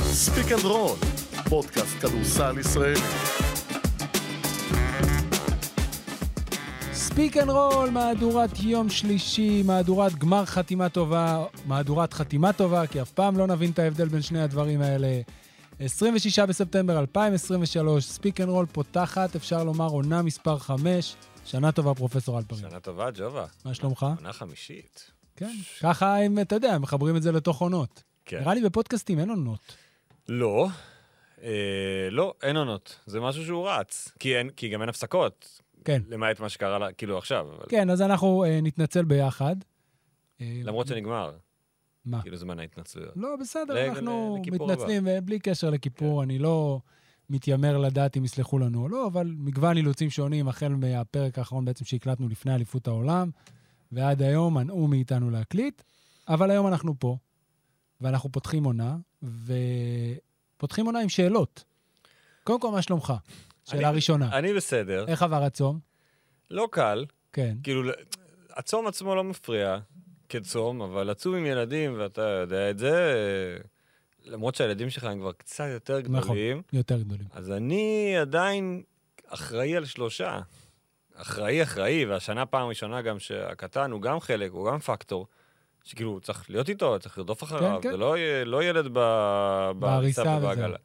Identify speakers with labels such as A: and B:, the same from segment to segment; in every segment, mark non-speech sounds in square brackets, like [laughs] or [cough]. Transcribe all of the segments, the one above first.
A: ספיק אנד רול, פודקאסט כדורסל ישראלי.
B: ספיק אנד רול, מהדורת יום שלישי, מהדורת גמר חתימה טובה, מהדורת חתימה טובה, כי אף פעם לא נבין את ההבדל בין שני הדברים האלה. 26 בספטמבר 2023, ספיק אנד רול פותחת, אפשר לומר, עונה מספר 5. שנה טובה, פרופסור אלפרין.
C: שנה טובה, ג'ובה.
B: מה שלומך?
C: עונה חמישית.
B: כן. ככה הם, אתה יודע, מחברים את זה לתוך עונות.
C: כן.
B: נראה לי בפודקאסטים אין עונות.
C: לא. אה, לא, אין עונות. זה משהו שהוא רץ. כי, אין, כי גם אין הפסקות,
B: כן.
C: למעט מה שקרה לה, כאילו עכשיו. אבל
B: כן, אז אנחנו אה, נתנצל ביחד. אה,
C: למרות שנגמר,
B: מה?
C: כאילו זמן ההתנצלויות.
B: לא, בסדר,
C: ל-
B: אנחנו
C: ל- לכיפור כן.
B: מתנצלים, אה, בלי קשר לכיפור, אני לא מתיימר לדעת אם יסלחו לנו או לא, אבל מגוון אילוצים שונים, החל מהפרק האחרון בעצם שהקלטנו לפני אליפות העולם, ועד היום מנעו מאיתנו להקליט, אבל היום אנחנו פה, ואנחנו פותחים עונה, ופותחים עונה עם שאלות. קודם כל, מה שלומך? שאלה
C: אני-
B: ראשונה,
C: אני בסדר.
B: איך עבר הצום?
C: לא קל.
B: כן,
C: כאילו, ל- הצום עצמו לא מפריע כצום, אבל לצום עם ילדים, ואתה יודע את זה, אה, למרות שהילדים שלך הם כבר קצת יותר
B: נכון.
C: גדולים.
B: יותר גדולים.
C: אז אני עדיין אחראי על שלושה. אחראי, אחראי, והשנה פעם ראשונה גם שהקטן הוא גם חלק, הוא גם פקטור, שכאילו הוא צריך להיות איתו, צריך לרדוף אחריו,
B: כן.
C: זה לא, י- לא ילד ב...
B: בעריסה
C: בעריסה
B: וזהו.
C: ובעגלה.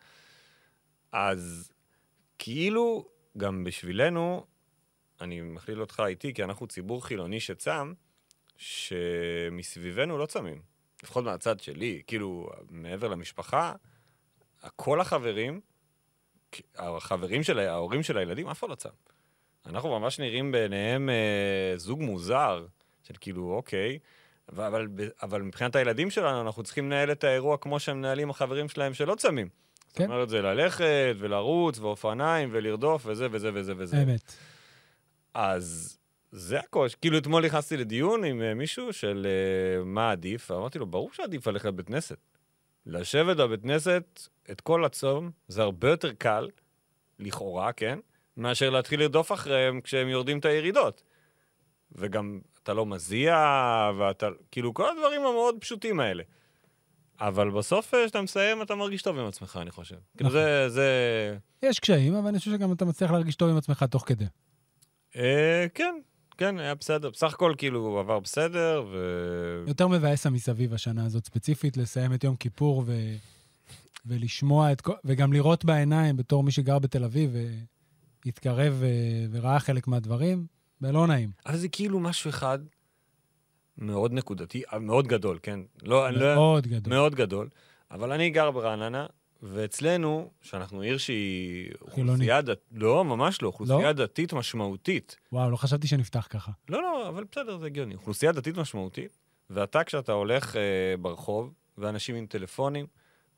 C: אז כאילו, גם בשבילנו, אני מכליל אותך איתי, כי אנחנו ציבור חילוני שצם, שמסביבנו לא צמים. לפחות מהצד שלי, כאילו, מעבר למשפחה, כל החברים, החברים של, ה- ההורים של הילדים, אף אחד לא צם. אנחנו ממש נראים בעיניהם אה, זוג מוזר, של כאילו, אוקיי, ו- אבל, ב- אבל מבחינת הילדים שלנו, אנחנו צריכים לנהל את האירוע כמו שהם מנהלים החברים שלהם שלא צמים. זאת
B: כן.
C: אומרת, זה ללכת, ולרוץ, ואופניים, ולרדוף, וזה וזה וזה וזה.
B: אמת.
C: אז זה הקושי. כאילו, אתמול נכנסתי לדיון עם אה, מישהו של אה, מה עדיף, ואמרתי לו, ברור שעדיף ללכת לבית כנסת. לשבת בבית כנסת את כל הצום, זה הרבה יותר קל, לכאורה, כן, מאשר להתחיל לרדוף אחריהם כשהם יורדים את הירידות. וגם אתה לא מזיע, ואתה... כאילו, כל הדברים המאוד פשוטים האלה. אבל בסוף, אה, כשאתה מסיים, אתה מרגיש טוב עם עצמך, אני חושב. כאילו, זה... זה...
B: יש קשיים, אבל אני חושב שגם אתה מצליח להרגיש טוב עם עצמך תוך כדי.
C: אה, כן, כן, היה בסדר. בסך הכל כאילו הוא עבר בסדר, ו...
B: יותר מבאס המסביב השנה הזאת ספציפית, לסיים את יום כיפור ו... ולשמוע את כל... וגם לראות בעיניים בתור מי שגר בתל אביב והתקרב ו... וראה חלק מהדברים, ולא נעים.
C: אבל זה כאילו משהו אחד מאוד נקודתי, אה, מאוד גדול, כן? לא, אני לא...
B: מאוד גדול.
C: מאוד גדול. אבל אני גר ברעננה, ואצלנו, שאנחנו עיר שהיא... אוכלוסייה דת... לא, ממש לא. אוכלוסייה דתית משמעותית.
B: וואו, לא חשבתי שנפתח ככה.
C: לא, לא, אבל בסדר, זה הגיוני. אוכלוסייה דתית משמעותית, ואתה כשאתה הולך אה, ברחוב, ואנשים עם טלפונים,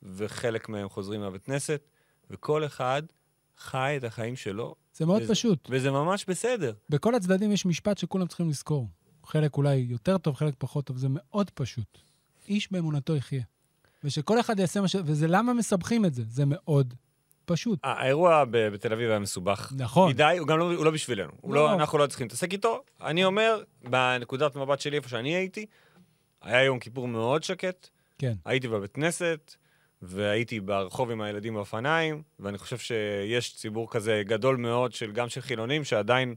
C: וחלק מהם חוזרים מהבית כנסת, וכל אחד חי את החיים שלו,
B: זה מאוד
C: וזה-
B: פשוט.
C: וזה ממש בסדר.
B: בכל הצדדים יש משפט שכולם צריכים לזכור. חלק אולי יותר טוב, חלק פחות טוב, זה מאוד פשוט. איש באמונתו יחיה. ושכל אחד יעשה מה ש... וזה למה מסבכים את זה, זה מאוד פשוט.
C: אה, האירוע ב- בתל אביב היה מסובך.
B: נכון.
C: מדי, הוא גם לא, הוא לא בשבילנו. הוא
B: לא.
C: לא, אנחנו לא צריכים להתעסק איתו. אני אומר, בנקודת מבט שלי, איפה שאני הייתי, היה יום כיפור מאוד שקט,
B: כן.
C: הייתי בבית כנסת, והייתי ברחוב עם הילדים באופניים, ואני חושב שיש ציבור כזה גדול מאוד, של, גם של חילונים, שעדיין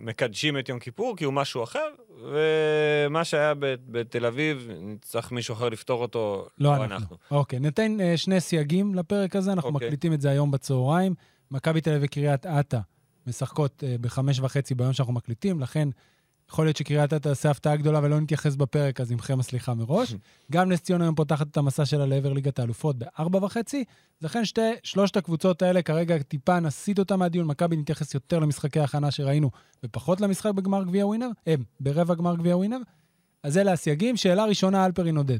C: מקדשים את יום כיפור, כי הוא משהו אחר, ומה שהיה ב- בתל אביב, צריך מישהו אחר לפתור אותו,
B: לא אנחנו. אוקיי, ניתן אה, שני סייגים לפרק הזה, אנחנו
C: אוקיי.
B: מקליטים את זה היום בצהריים. מכבי תל אביב וקריית אתא משחקות אה, בחמש וחצי ביום שאנחנו מקליטים, לכן יכול להיות שקריית אתא תעשה הפתעה גדולה ולא נתייחס בפרק, אז עמכם הסליחה [laughs] מראש. גם נס ציונה היום פותחת את המסע שלה לעבר ליגת האלופות בארבע וחצי. לכן שתי, שלושת הקבוצות האלה כרגע טיפה נסיט אותה מהדיון. מכבי נתייחס יותר למשחקי ההכנה שראינו, ופחות למשחק בגמר גביע ווינר, אה, ברבע גמר גביע ווינר. אז אלה הסייגים. שאלה ראשונה, אלפרין עודד.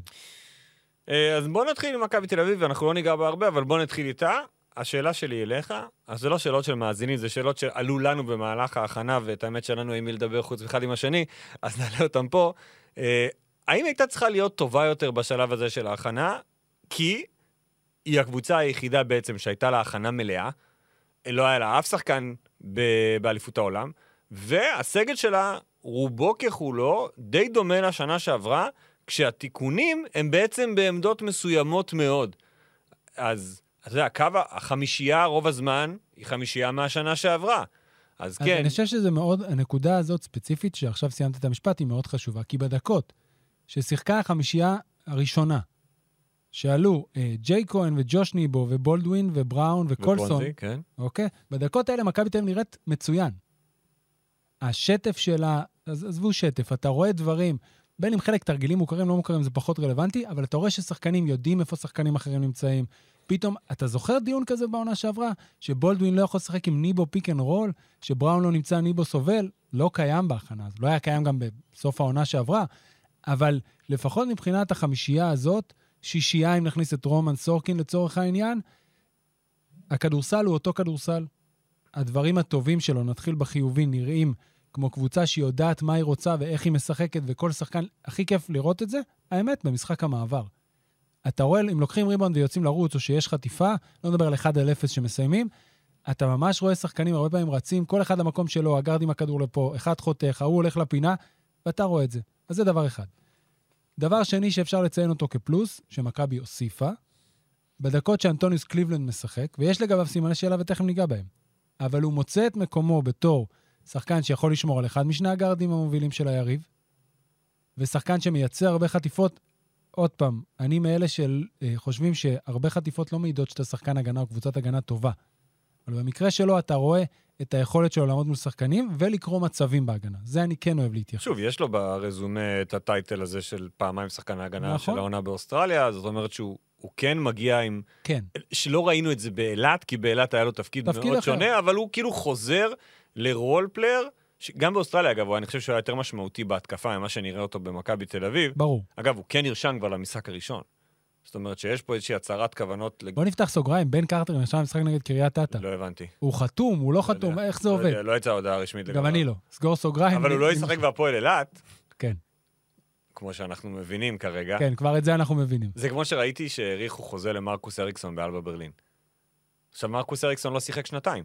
C: אה, אז בוא נתחיל עם מכבי תל אביב, ואנחנו לא ניגע בה הרבה, אבל בוא נתחיל איתה. השאלה שלי אליך, אז זה לא שאלות של מאזינים, זה שאלות שעלו לנו במהלך ההכנה, ואת האמת שלנו עם מי לדבר חוץ אחד עם השני, אז נעלה אותם פה. אה, האם הייתה צריכה להיות טובה יותר בשלב הזה של ההכנה? כי היא הקבוצה היחידה בעצם שהייתה לה הכנה מלאה, לא היה לה אף שחקן ב- באליפות העולם, והסגל שלה, רובו ככולו, די דומה לשנה שעברה, כשהתיקונים הם בעצם בעמדות מסוימות מאוד. אז, אתה יודע, הקו, ה- החמישייה רוב הזמן היא חמישייה מהשנה שעברה. אז
B: אז
C: כן,
B: אני חושב שזה מאוד, הנקודה הזאת ספציפית, שעכשיו סיימת את המשפט, היא מאוד חשובה, כי בדקות ששיחקה החמישייה הראשונה, שעלו אה, ג'יי כהן וג'וש ניבו ובולדווין ובראון וקולסון,
C: ופונזי, כן.
B: אוקיי? בדקות האלה מכבי תל אביב נראית מצוין. השטף שלה, אז עזבו שטף, אתה רואה דברים, בין אם חלק תרגילים מוכרים, לא מוכרים, זה פחות רלוונטי, אבל אתה רואה ששחקנים יודעים איפה שחקנים אחרים נמצאים. פתאום, אתה זוכר דיון כזה בעונה שעברה, שבולדווין לא יכול לשחק עם ניבו פיק אנד רול, שבראון לא נמצא, ניבו סובל? לא קיים בהכנה, זה לא היה קיים גם בסוף העונה שעברה, אבל לפחות מבחינת החמישייה הזאת, שישייה, אם נכניס את רומן סורקין לצורך העניין, הכדורסל הוא אותו כדורסל. הדברים הטובים שלו, נתחיל בחיובי, נראים כמו קבוצה שיודעת מה היא רוצה ואיך היא משחקת, וכל שחקן, הכי כיף לראות את זה, האמת, במשחק המעבר. אתה רואה, אם לוקחים ריבאונד ויוצאים לרוץ, או שיש חטיפה, לא נדבר על 1 על 0 שמסיימים, אתה ממש רואה שחקנים הרבה פעמים רצים, כל אחד למקום שלו, הגארד עם הכדור לפה, אחד חותך, ההוא הולך לפינה, ואתה רואה את זה. אז זה דבר אחד. דבר שני שאפשר לציין אותו כפלוס, שמכבי הוסיפה, בדקות שאנטוניוס קליבלנד משחק, ויש לגביו סימני שאלה ותכף ניגע בהם, אבל הוא מוצא את מקומו בתור שחקן שיכול לשמור על אחד משני הגארדים המובילים של היריב, ושחקן שמייצר הרבה חטיפות. עוד פעם, אני מאלה שחושבים שהרבה חטיפות לא מעידות שאתה שחקן הגנה או קבוצת הגנה טובה. אבל במקרה שלו אתה רואה את היכולת שלו לעמוד מול שחקנים ולקרוא מצבים בהגנה. זה אני כן אוהב להתייחס.
C: שוב, יש לו ברזומה את הטייטל הזה של פעמיים שחקן ההגנה
B: נכון.
C: של העונה באוסטרליה, זאת אומרת שהוא הוא כן מגיע עם...
B: כן.
C: שלא ראינו את זה באילת, כי באילת היה לו תפקיד,
B: תפקיד
C: מאוד
B: אחר.
C: שונה, אבל הוא כאילו חוזר לרול פלייר, ש- גם באוסטרליה, אגב, הוא היה- אני חושב שהוא היה יותר משמעותי בהתקפה ממה שנראה אותו במכבי תל אביב.
B: ברור.
C: אגב, הוא כן נרשם כבר למשחק הראשון. זאת אומרת שיש פה איזושהי הצהרת כוונות... לג-
B: בוא נפתח סוגריים, בן קרטר נרשם למשחק נגד קריית אתא.
C: לא הבנתי.
B: הוא חתום, הוא לא
C: לא
B: חתום,
C: יודע.
B: איך זה
C: לא
B: עובד?
C: יודע, לא יצאה הודעה רשמית לגביו.
B: גם אני לא. סגור סוגריים.
C: אבל הוא
B: אם-
C: לא
B: אם-
C: ישחק בהפועל אילת,
B: כן,
C: כמו שאנחנו מבינים כרגע.
B: כן, כבר את זה אנחנו מבינים.
C: זה כמו שראיתי שהאריכו חוזה למרקוס אריקסון באלבה ברלין. עכשיו, מרקוס אריקסון לא שיחק שנתיים,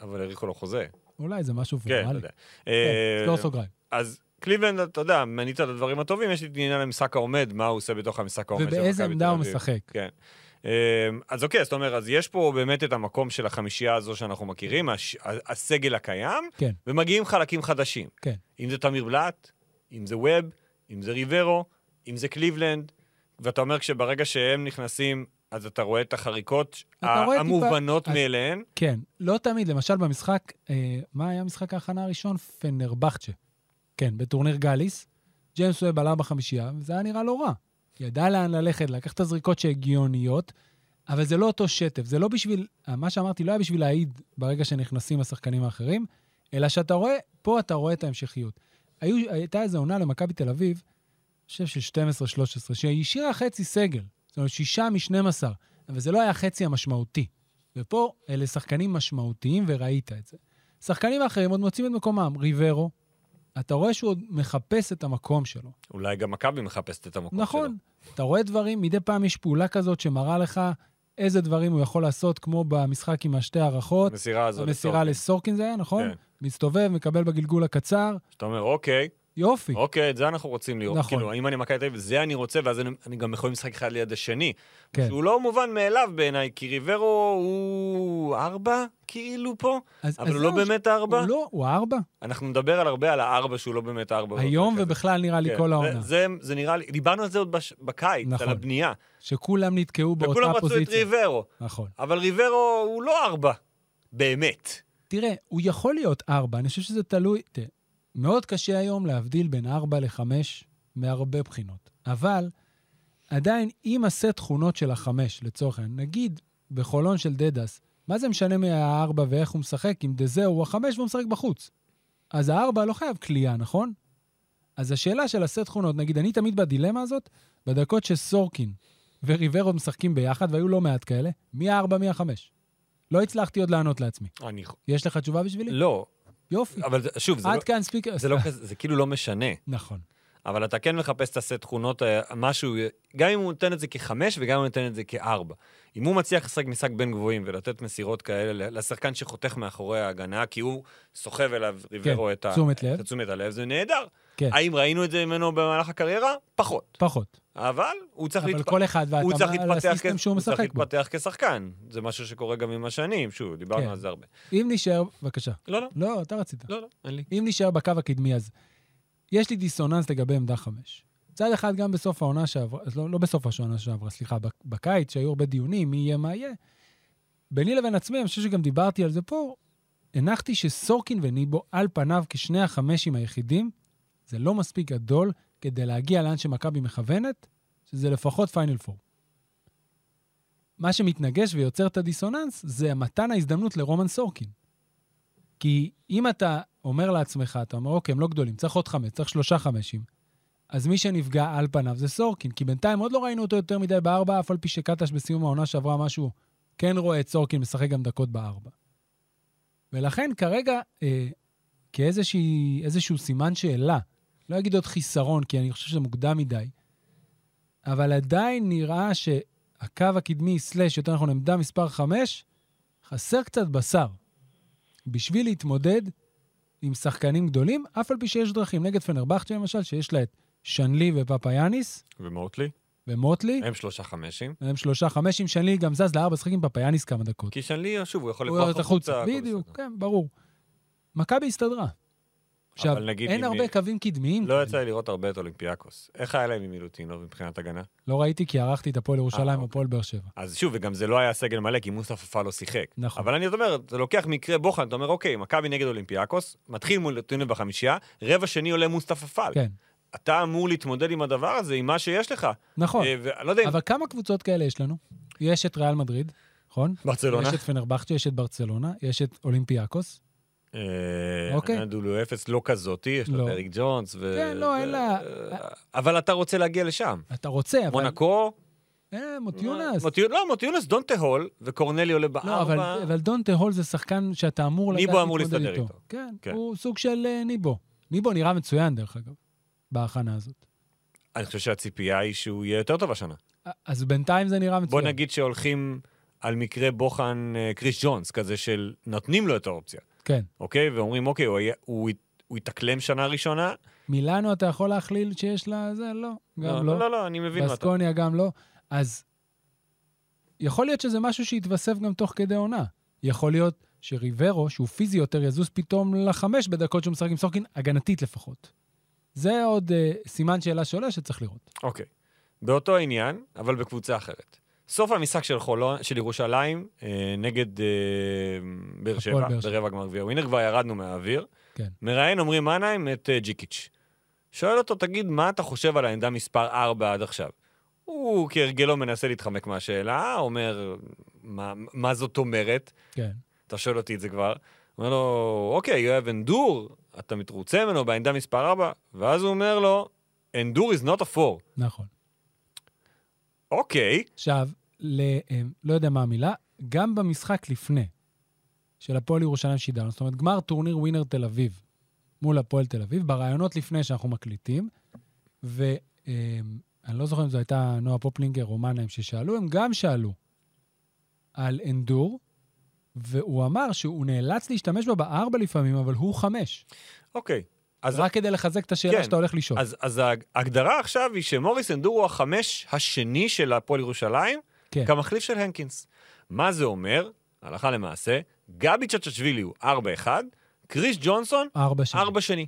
C: אבל האריכו לו חוזה.
B: אולי זה משהו
C: כן, אתה
B: פורמלי.
C: יודע.
B: כן,
C: אה,
B: סגור סוגריים.
C: אז קליבלנד, אתה יודע, מנית את הדברים הטובים, יש לי את עניין המשחק העומד, מה הוא עושה בתוך המשחק העומד של מכבי
B: ובאיזה עמדה הוא
C: תל אביב.
B: משחק?
C: כן. אמ, אז אוקיי, זאת אומרת, אז יש פה באמת את המקום של החמישייה הזו שאנחנו מכירים, הש... ה- הסגל הקיים,
B: כן.
C: ומגיעים חלקים חדשים.
B: כן.
C: אם זה תמיר בלאט, אם זה ווב, אם זה ריברו, אם זה קליבלנד, ואתה אומר שברגע שהם נכנסים, אז אתה רואה את החריקות
B: אתה רואה
C: ה-
B: טיפה-
C: המובנות
B: אז-
C: מאליהן.
B: כן, לא תמיד. למשל במשחק, אה, מה היה משחק ההכנה הראשון? פנרבכצ'ה. כן, בטורניר גאליס. ג'יימס ווב עלה בחמישייה, וזה היה נראה לא רע. ידע לאן ללכת, לקח את הזריקות שהגיוניות, אבל זה לא אותו שטף. זה לא בשביל, מה שאמרתי לא היה בשביל להעיד ברגע שנכנסים השחקנים האחרים, אלא שאתה רואה, פה אתה רואה את ההמשכיות. היו, הייתה איזו עונה למכבי תל אביב, אני חושב של 12-13, שהיא השאירה חצי סגל. זאת אומרת, שישה מ-12, אבל זה לא היה החצי המשמעותי. ופה אלה שחקנים משמעותיים, וראית את זה. שחקנים האחרים עוד מוצאים את מקומם. ריברו, אתה רואה שהוא עוד מחפש את המקום שלו.
C: אולי גם מכבי מחפשת את המקום
B: נכון.
C: שלו.
B: אתה רואה דברים, מדי פעם יש פעולה כזאת שמראה לך איזה דברים הוא יכול לעשות, כמו במשחק עם השתי הערכות.
C: המסירה הזו.
B: המסירה
C: לסורקין.
B: לסורקין זה היה, נכון?
C: כן.
B: מסתובב, מקבל בגלגול הקצר,
C: שאתה אומר, אוקיי,
B: יופי.
C: אוקיי, את זה אנחנו רוצים לראות.
B: נכון.
C: נכון. כאילו, אם אני מכבי תל אביב, זה אני רוצה, ואז אני, אני גם יכול לשחק אחד ליד השני.
B: כן.
C: שהוא לא מובן מאליו בעיניי, כי ריברו הוא ארבע, כאילו פה,
B: אז-
C: אבל
B: אז
C: הוא לא
B: זהו,
C: באמת ארבע.
B: הוא לא, הוא הארבע.
C: אנחנו נדבר על הרבה על הארבע שהוא לא באמת ארבע.
B: היום
C: בפרק הזה.
B: ובכלל נראה לי
C: כן,
B: כל
C: זה-
B: העונה.
C: זה, זה נראה לי, דיברנו על זה עוד בש, בקיץ,
B: נכון.
C: על הבנייה.
B: שכולם נתקעו באותה
C: וכולם רצו את
B: פוזיציה.
C: ריברו,
B: נכון.
C: אבל ריברו הוא לא ארבע, באמת.
B: תראה, הוא יכול להיות ארבע, אני חושב שזה תלוי... תראה, מאוד קשה היום להבדיל בין ארבע לחמש מהרבה בחינות, אבל עדיין, אם עשה תכונות של החמש, לצורך העניין, נגיד בחולון של דדס, מה זה משנה מי הארבע ואיך הוא משחק, אם דזה הוא החמש והוא משחק בחוץ? אז הארבע לא חייב כליאה, נכון? אז השאלה של עשה תכונות, נגיד, אני תמיד בדילמה הזאת, בדקות שסורקין וריברו משחקים ביחד, והיו לא מעט כאלה, מי הארבע, מי החמש? לא הצלחתי עוד לענות לעצמי.
C: אני...
B: יש לך תשובה בשבילי?
C: לא,
B: יופי.
C: אבל זה- שוב, זה לא,
B: עד כאן ספיקר.
C: זה, לא כזה, זה כאילו לא משנה.
B: נכון.
C: אבל אתה כן מחפש את הסט תכונות, אה, משהו, גם אם הוא נותן את זה כחמש וגם אם הוא נותן את זה כארבע. אם הוא מצליח לשחק משחק בין גבוהים ולתת מסירות כאלה לשחקן שחותך מאחורי ההגנה, כי הוא סוחב אליו ריברו את ה-
B: כן, תשומת לב.
C: את תשומת הלב, זה נהדר.
B: כן.
C: האם ראינו את זה ממנו במהלך הקריירה? פחות.
B: פחות.
C: אבל הוא צריך
B: אבל
C: להתפ-
B: כל אחד
C: הוא צריך
B: והתאמה
C: להתפתח כ-
B: לסיסטם שהוא
C: הוא צריך
B: משחק בו.
C: להתפתח כשחקן. זה משהו שקורה גם עם השנים, שוב,
B: כן.
C: דיברנו על זה הרבה.
B: אם נשאר, בבקשה.
C: לא, לא,
B: לא, אתה רצית.
C: לא, לא, אין לי.
B: אם נשאר בקו הקדמי, אז יש לי דיסוננס לגבי עמדה חמש. מצד אחד, גם בסוף העונה שעברה, אז לא, לא בסוף העונה שעברה, סליחה, בק- בקיץ, שהיו הרבה דיונים, מי יהיה, מה יהיה, ביני לבין עצמי, אני חושב שגם דיברתי על זה פה, הנחתי שסורקין וניבו, על פניו, כשני החמשים היחידים, זה לא מספיק גדול כדי להגיע לאן שמכבי מכוונת, שזה לפחות פיינל פור. מה שמתנגש ויוצר את הדיסוננס זה מתן ההזדמנות לרומן סורקין. כי אם אתה אומר לעצמך, אתה אומר, אוקיי, הם לא גדולים, צריך עוד חמש, צריך שלושה חמשים, אז מי שנפגע על פניו זה סורקין, כי בינתיים עוד לא ראינו אותו יותר מדי בארבע, אף על פי שקטש בסיום העונה שעברה משהו, כן רואה את סורקין משחק גם דקות בארבע. ולכן כרגע, אה, כאיזשהו סימן שאלה, לא אגיד עוד חיסרון, כי אני חושב שזה מוקדם מדי, אבל עדיין נראה שהקו הקדמי, סלאש, יותר נכון, עמדה מספר חמש, חסר קצת בשר. בשביל להתמודד עם שחקנים גדולים, אף על פי שיש דרכים. נגד פנרבכצ'ה למשל, שיש לה את שנלי ופפאיאניס
C: ומוטלי?
B: ומוטלי,
C: הם שלושה חמשים.
B: הם שלושה חמש, עם שנלי גם זז לארבע, משחק עם פפאיאניס כמה דקות.
C: כי שנלי, שוב, הוא יכול
B: הוא
C: לברוח
B: יורד
C: החוצה.
B: החוצה.
C: כאילו, הכל
B: בדיוק,
C: בסדר.
B: כן, ברור. מכבי הסתדרה. עכשיו,
C: נגיד
B: אין
C: אם-
B: הרבה קווים קדמיים.
C: לא
B: כאלה.
C: יצא לי לראות הרבה את אולימפיאקוס. איך היה להם עם מילוטינוב מבחינת הגנה?
B: לא ראיתי כי ערכתי את הפועל ירושלים
C: אוקיי.
B: הפועל באר שבע.
C: אז שוב, וגם זה לא היה סגל מלא, כי מוסטף אפל לא שיחק.
B: נכון.
C: אבל אני זאת אומרת, אתה לוקח מקרה בוחן, אתה אומר, אוקיי, מכבי נגד אולימפיאקוס, מתחיל מול טונב בחמישייה, רבע שני עולה מוסטף אפל.
B: כן,
C: אתה אמור להתמודד עם הדבר הזה, עם מה שיש לך.
B: נכון.
C: אה, ואני לא יודע אם...
B: אבל כמה קבוצות כאלה יש לנו? יש את ריאל מדריד, נכון?
C: ברצלונה.
B: יש את פנרבכצ'ה, יש את ברצלונה, יש את אולימפיאקוס.
C: אה,
B: אוקיי.
C: נדולו אפס לא כזאתי, יש לו
B: לא.
C: את אריק ג'ונס. ו-
B: כן, לא,
C: ו-
B: אין לה-
C: אה, אבל אתה רוצה להגיע לשם.
B: אתה רוצה, אבל...
C: מונקו,
B: אה, מוטיונס.
C: מוטיו- לא, מוטיונס דונטה הול, וקורנלי עולה
B: לא, אבל,
C: בארבע.
B: אבל דונטה הול זה שחקן שאתה אמור לדעת
C: ניבו אמור
B: להתמודד
C: להסתדר איתו.
B: כן,
C: כן.
B: הוא סוג של אה, ניבו. ניבו נראה מצוין, דרך אגב, בהכנה הזאת.
C: אני חושב שהציפייה היא שהוא יהיה יותר טוב השנה.
B: א- אה, אז בינתיים זה נראה מצוין.
C: בוא נגיד שהולכים על מקרה בוחן אה, קריס ג'ונס, כזה של נותנים לו את האופציה,
B: כן.
C: אוקיי? ואומרים, אוקיי, הוא היה- הוא ית- הוא יתאקלם שנה ראשונה?
B: מילאנו, אתה יכול להכליל שיש לה זה? לא. גם
C: לא,
B: לא.
C: לא, לא, אני מבין מה אתה...
B: בסקוניה גם לא. אז יכול להיות שזה משהו שיתווסף גם תוך כדי עונה. יכול להיות שריברו, שהוא פיזי יותר, יזוז פתאום לחמש בדקות שהוא משחק עם סורקין, הגנתית לפחות. זה עוד אה, סימן שאלה שעולה שצריך לראות.
C: אוקיי. באותו עניין, אבל בקבוצה אחרת. סוף המשחק של, חולון, של ירושלים אה, נגד אה, באר שבע,
B: באר שבע.
C: ברבע גמר גביע ווינר, כבר ירדנו מהאוויר.
B: כן.
C: מראיין עמרי מנהיים את אה, ג'יקיץ'. שואל אותו, תגיד, מה אתה חושב על העמדה מספר 4 עד עכשיו? הוא כהרגלו מנסה להתחמק מהשאלה, אומר, מה, מה זאת אומרת?
B: כן.
C: אתה שואל אותי את זה כבר. אומר לו, אוקיי, יואב אנדור, אתה מתרוצה ממנו בעמדה מספר 4? ואז הוא אומר לו, אנדור is not a 4.
B: נכון.
C: אוקיי,
B: עכשיו, ל... אה, לא יודע מה המילה, גם במשחק לפני, של הפועל ירושלים שידרנו, זאת אומרת, גמר טורניר ווינר תל אביב מול הפועל תל אביב, בראיונות לפני שאנחנו מקליטים, ואני לא זוכר אם זו הייתה נועה פופלינגר או מנהיים ששאלו, הם גם שאלו על אנדור, והוא אמר שהוא נאלץ להשתמש בה בארבע לפעמים, אבל הוא חמש.
C: אוקיי. אז,
B: רק כדי לחזק את השאלה
C: כן.
B: שאתה הולך לשאול.
C: אז, אז ההגדרה עכשיו היא שמוריס אנדור הוא החמש השני של הפועל ירושלים,
B: כן.
C: כמחליף של הנקינס. מה זה אומר? הלכה למעשה, גבי צ'צ'שווילי הוא 4-1, קריס ג'ונסון
B: ארבע שנים.
C: 4 שני,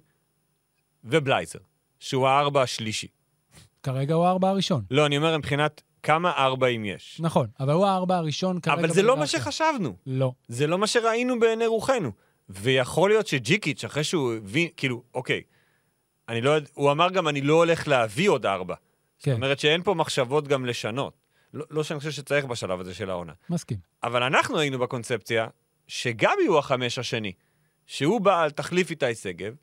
C: ובלייזר, שהוא הארבע השלישי.
B: כרגע הוא הארבע הראשון.
C: לא, אני אומר מבחינת כמה ארבעים יש.
B: נכון, אבל הוא הארבע הראשון כרגע.
C: אבל זה לא מה
B: בהיררכיה.
C: שחשבנו.
B: לא.
C: זה לא מה שראינו בעיני רוחנו. ויכול להיות שג'יקיץ', אחרי שהוא הבין, כאילו, אוקיי, אני לא יודע, הוא אמר גם, אני לא הולך להביא עוד ארבע.
B: כן,
C: זאת אומרת שאין פה מחשבות גם לשנות. לא, לא שאני חושב שצריך בשלב הזה של העונה.
B: מסכים.
C: אבל אנחנו היינו בקונספציה שגבי הוא החמש השני, שהוא בא על תחליף איתי שגב,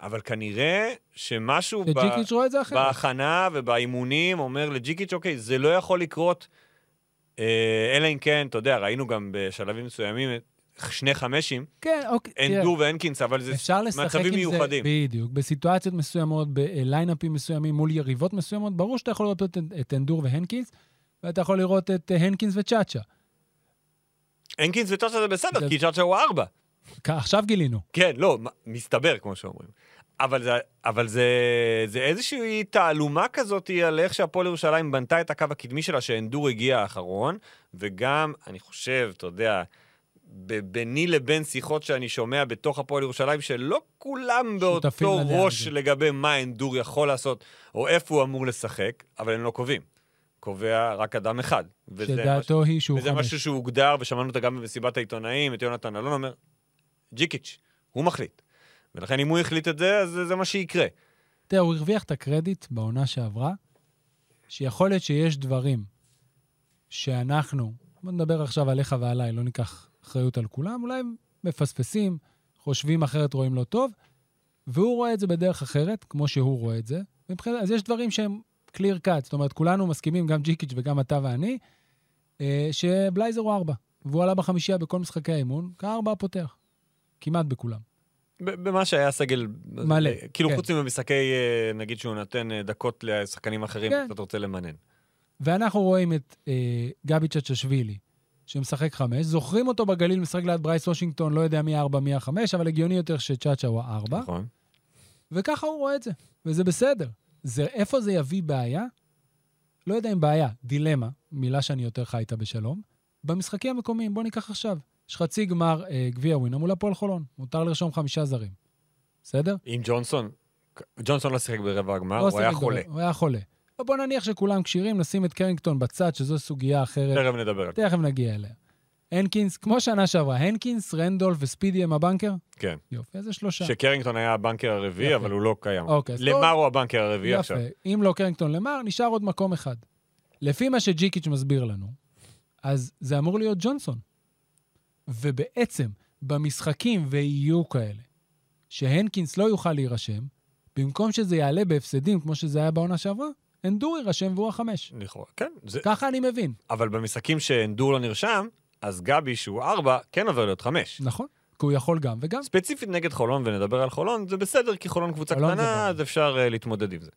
C: אבל כנראה שמשהו ב...
B: שג'יקיץ' רואה את זה אחרת.
C: בהכנה ובאימונים אומר לג'יקיץ', אוקיי, זה לא יכול לקרות, אה, אלא אם כן, אתה יודע, ראינו גם בשלבים מסוימים את שני חמשים,
B: כן, אוקיי. תראה,
C: אנדור והנקינס, אבל זה...
B: אפשר לשחק עם
C: מצבים
B: זה,
C: מיוחדים.
B: בדיוק, בסיטואציות מסוימות, בליינאפים מסוימים, מול יריבות מסוימות, ברור שאתה יכול לראות את, את אנדור והנקינס, ואתה יכול לראות את אה, הנקינס וצ'אצ'ה.
C: הנקינס וצ'אצ'ה זה בסדר,
B: זה-
C: כי צ'אצ'ה הוא ארבע.
B: כ- עכשיו גילינו.
C: כן, לא, מ- מסתבר, כמו שאומרים. אבל זה, אבל זה, זה איזושהי תעלומה כזאת על איך שהפועל ירושלים בנתה את הקו הקדמי שלה, שאנדור הגיע האחרון, וגם, אני חושב, אתה יודע, ב- ביני לבין שיחות שאני שומע בתוך הפועל ירושלים, שלא כולם
B: שותפים
C: באותו
B: לדעה
C: ראש
B: הזאת.
C: לגבי מה אנדור יכול לעשות, או איפה הוא אמור לשחק, אבל הם לא קובעים. קובע רק אדם אחד. וזה מש-
B: שדעתו היא שהוא
C: וזה
B: חמש.
C: משהו שהוגדר, ושמענו אותה גם במסיבת העיתונאים, את יונתן אלון אומר, ג'יקיץ', הוא מחליט. ולכן אם הוא החליט את זה, אז זה- זה מה שיקרה.
B: תראה, הוא הרוויח את הקרדיט בעונה שעברה, שיכול להיות שיש דברים שאנחנו, בוא נדבר עכשיו עליך ועליי, לא ניקח אחריות על כולם, אולי הם מפספסים, חושבים אחרת, רואים לא טוב, והוא רואה את זה בדרך אחרת, כמו שהוא רואה את זה. מבחינת, אז יש דברים שהם clear cut, זאת אומרת, כולנו מסכימים, גם ג'יקיץ' וגם אתה ואני, אה, שבלייזר הוא ארבע, והוא עלה בחמישייה בכל משחקי האימון, כארבע פותח, כמעט בכולם.
C: ב- במה שהיה סגל...
B: מלא,
C: אה, כאילו,
B: כן.
C: חוץ ממשחקי, אה, נגיד שהוא נותן אה, דקות לשחקנים אחרים,
B: כן.
C: אתה רוצה למנן.
B: ואנחנו רואים את אה, גבי צ'צ'שווילי, שמשחק חמש, זוכרים אותו בגליל, משחק ליד ברייס וושינגטון, לא יודע מי הארבע, מי החמש, אבל הגיוני יותר שצ'צ'ה הוא הארבע,
C: נכון.
B: וככה הוא רואה את זה, וזה בסדר. זה, איפה זה יביא בעיה? לא יודע אם בעיה, דילמה, מילה שאני יותר חי איתה בשלום. במשחקים המקומיים, בוא ניקח עכשיו. יש חצי גמר אה, גביע ווינר מול הפועל חולון, מותר לרשום חמישה זרים. בסדר?
C: עם ג'ונסון, ג'ונסון לא שיחק ברבע הגמר,
B: לא
C: הוא היה
B: שיחק
C: חולה.
B: גדול, הוא היה חולה. אבל בוא נניח שכולם כשירים, נשים את קרינגטון בצד, שזו סוגיה אחרת.
C: תכף נדבר על זה.
B: תכף נגיע אליה. הנקינס, כמו שנה שעברה, הנקינס, רנדולף וספידי הם הבנקר?
C: כן.
B: יופי, איזה שלושה.
C: שקרינגטון היה הבנקר הרביעי,
B: יפה.
C: אבל הוא לא קיים.
B: אוקיי, אז
C: למר הוא הבנקר הרביעי
B: יפה.
C: עכשיו.
B: אם לא קרינגטון למר, נשאר עוד מקום אחד. לפי מה שג'יקיץ' מסביר לנו, אז זה אמור להיות ג'ונסון. ובעצם, במשחקים, ויהיו כאלה, שהנקינס לא יוכל להירשם, במקום שזה יעלה בהפסדים, כמו שזה היה בעונה שעברה, אנדור יירשם והוא החמש.
C: לכאורה, כן. זה-
B: ככה אני מבין,
C: אבל במשחקים שאנדור לא נרשם, אז גבי, שהוא ארבע, כן עובר להיות חמש.
B: נכון? כי הוא יכול גם וגם.
C: ספציפית נגד חולון, ונדבר על חולון, זה בסדר, כי חולון קבוצה
B: חולון זה
C: קטנה,
B: בעיה.
C: אז אפשר אה, להתמודד עם זה.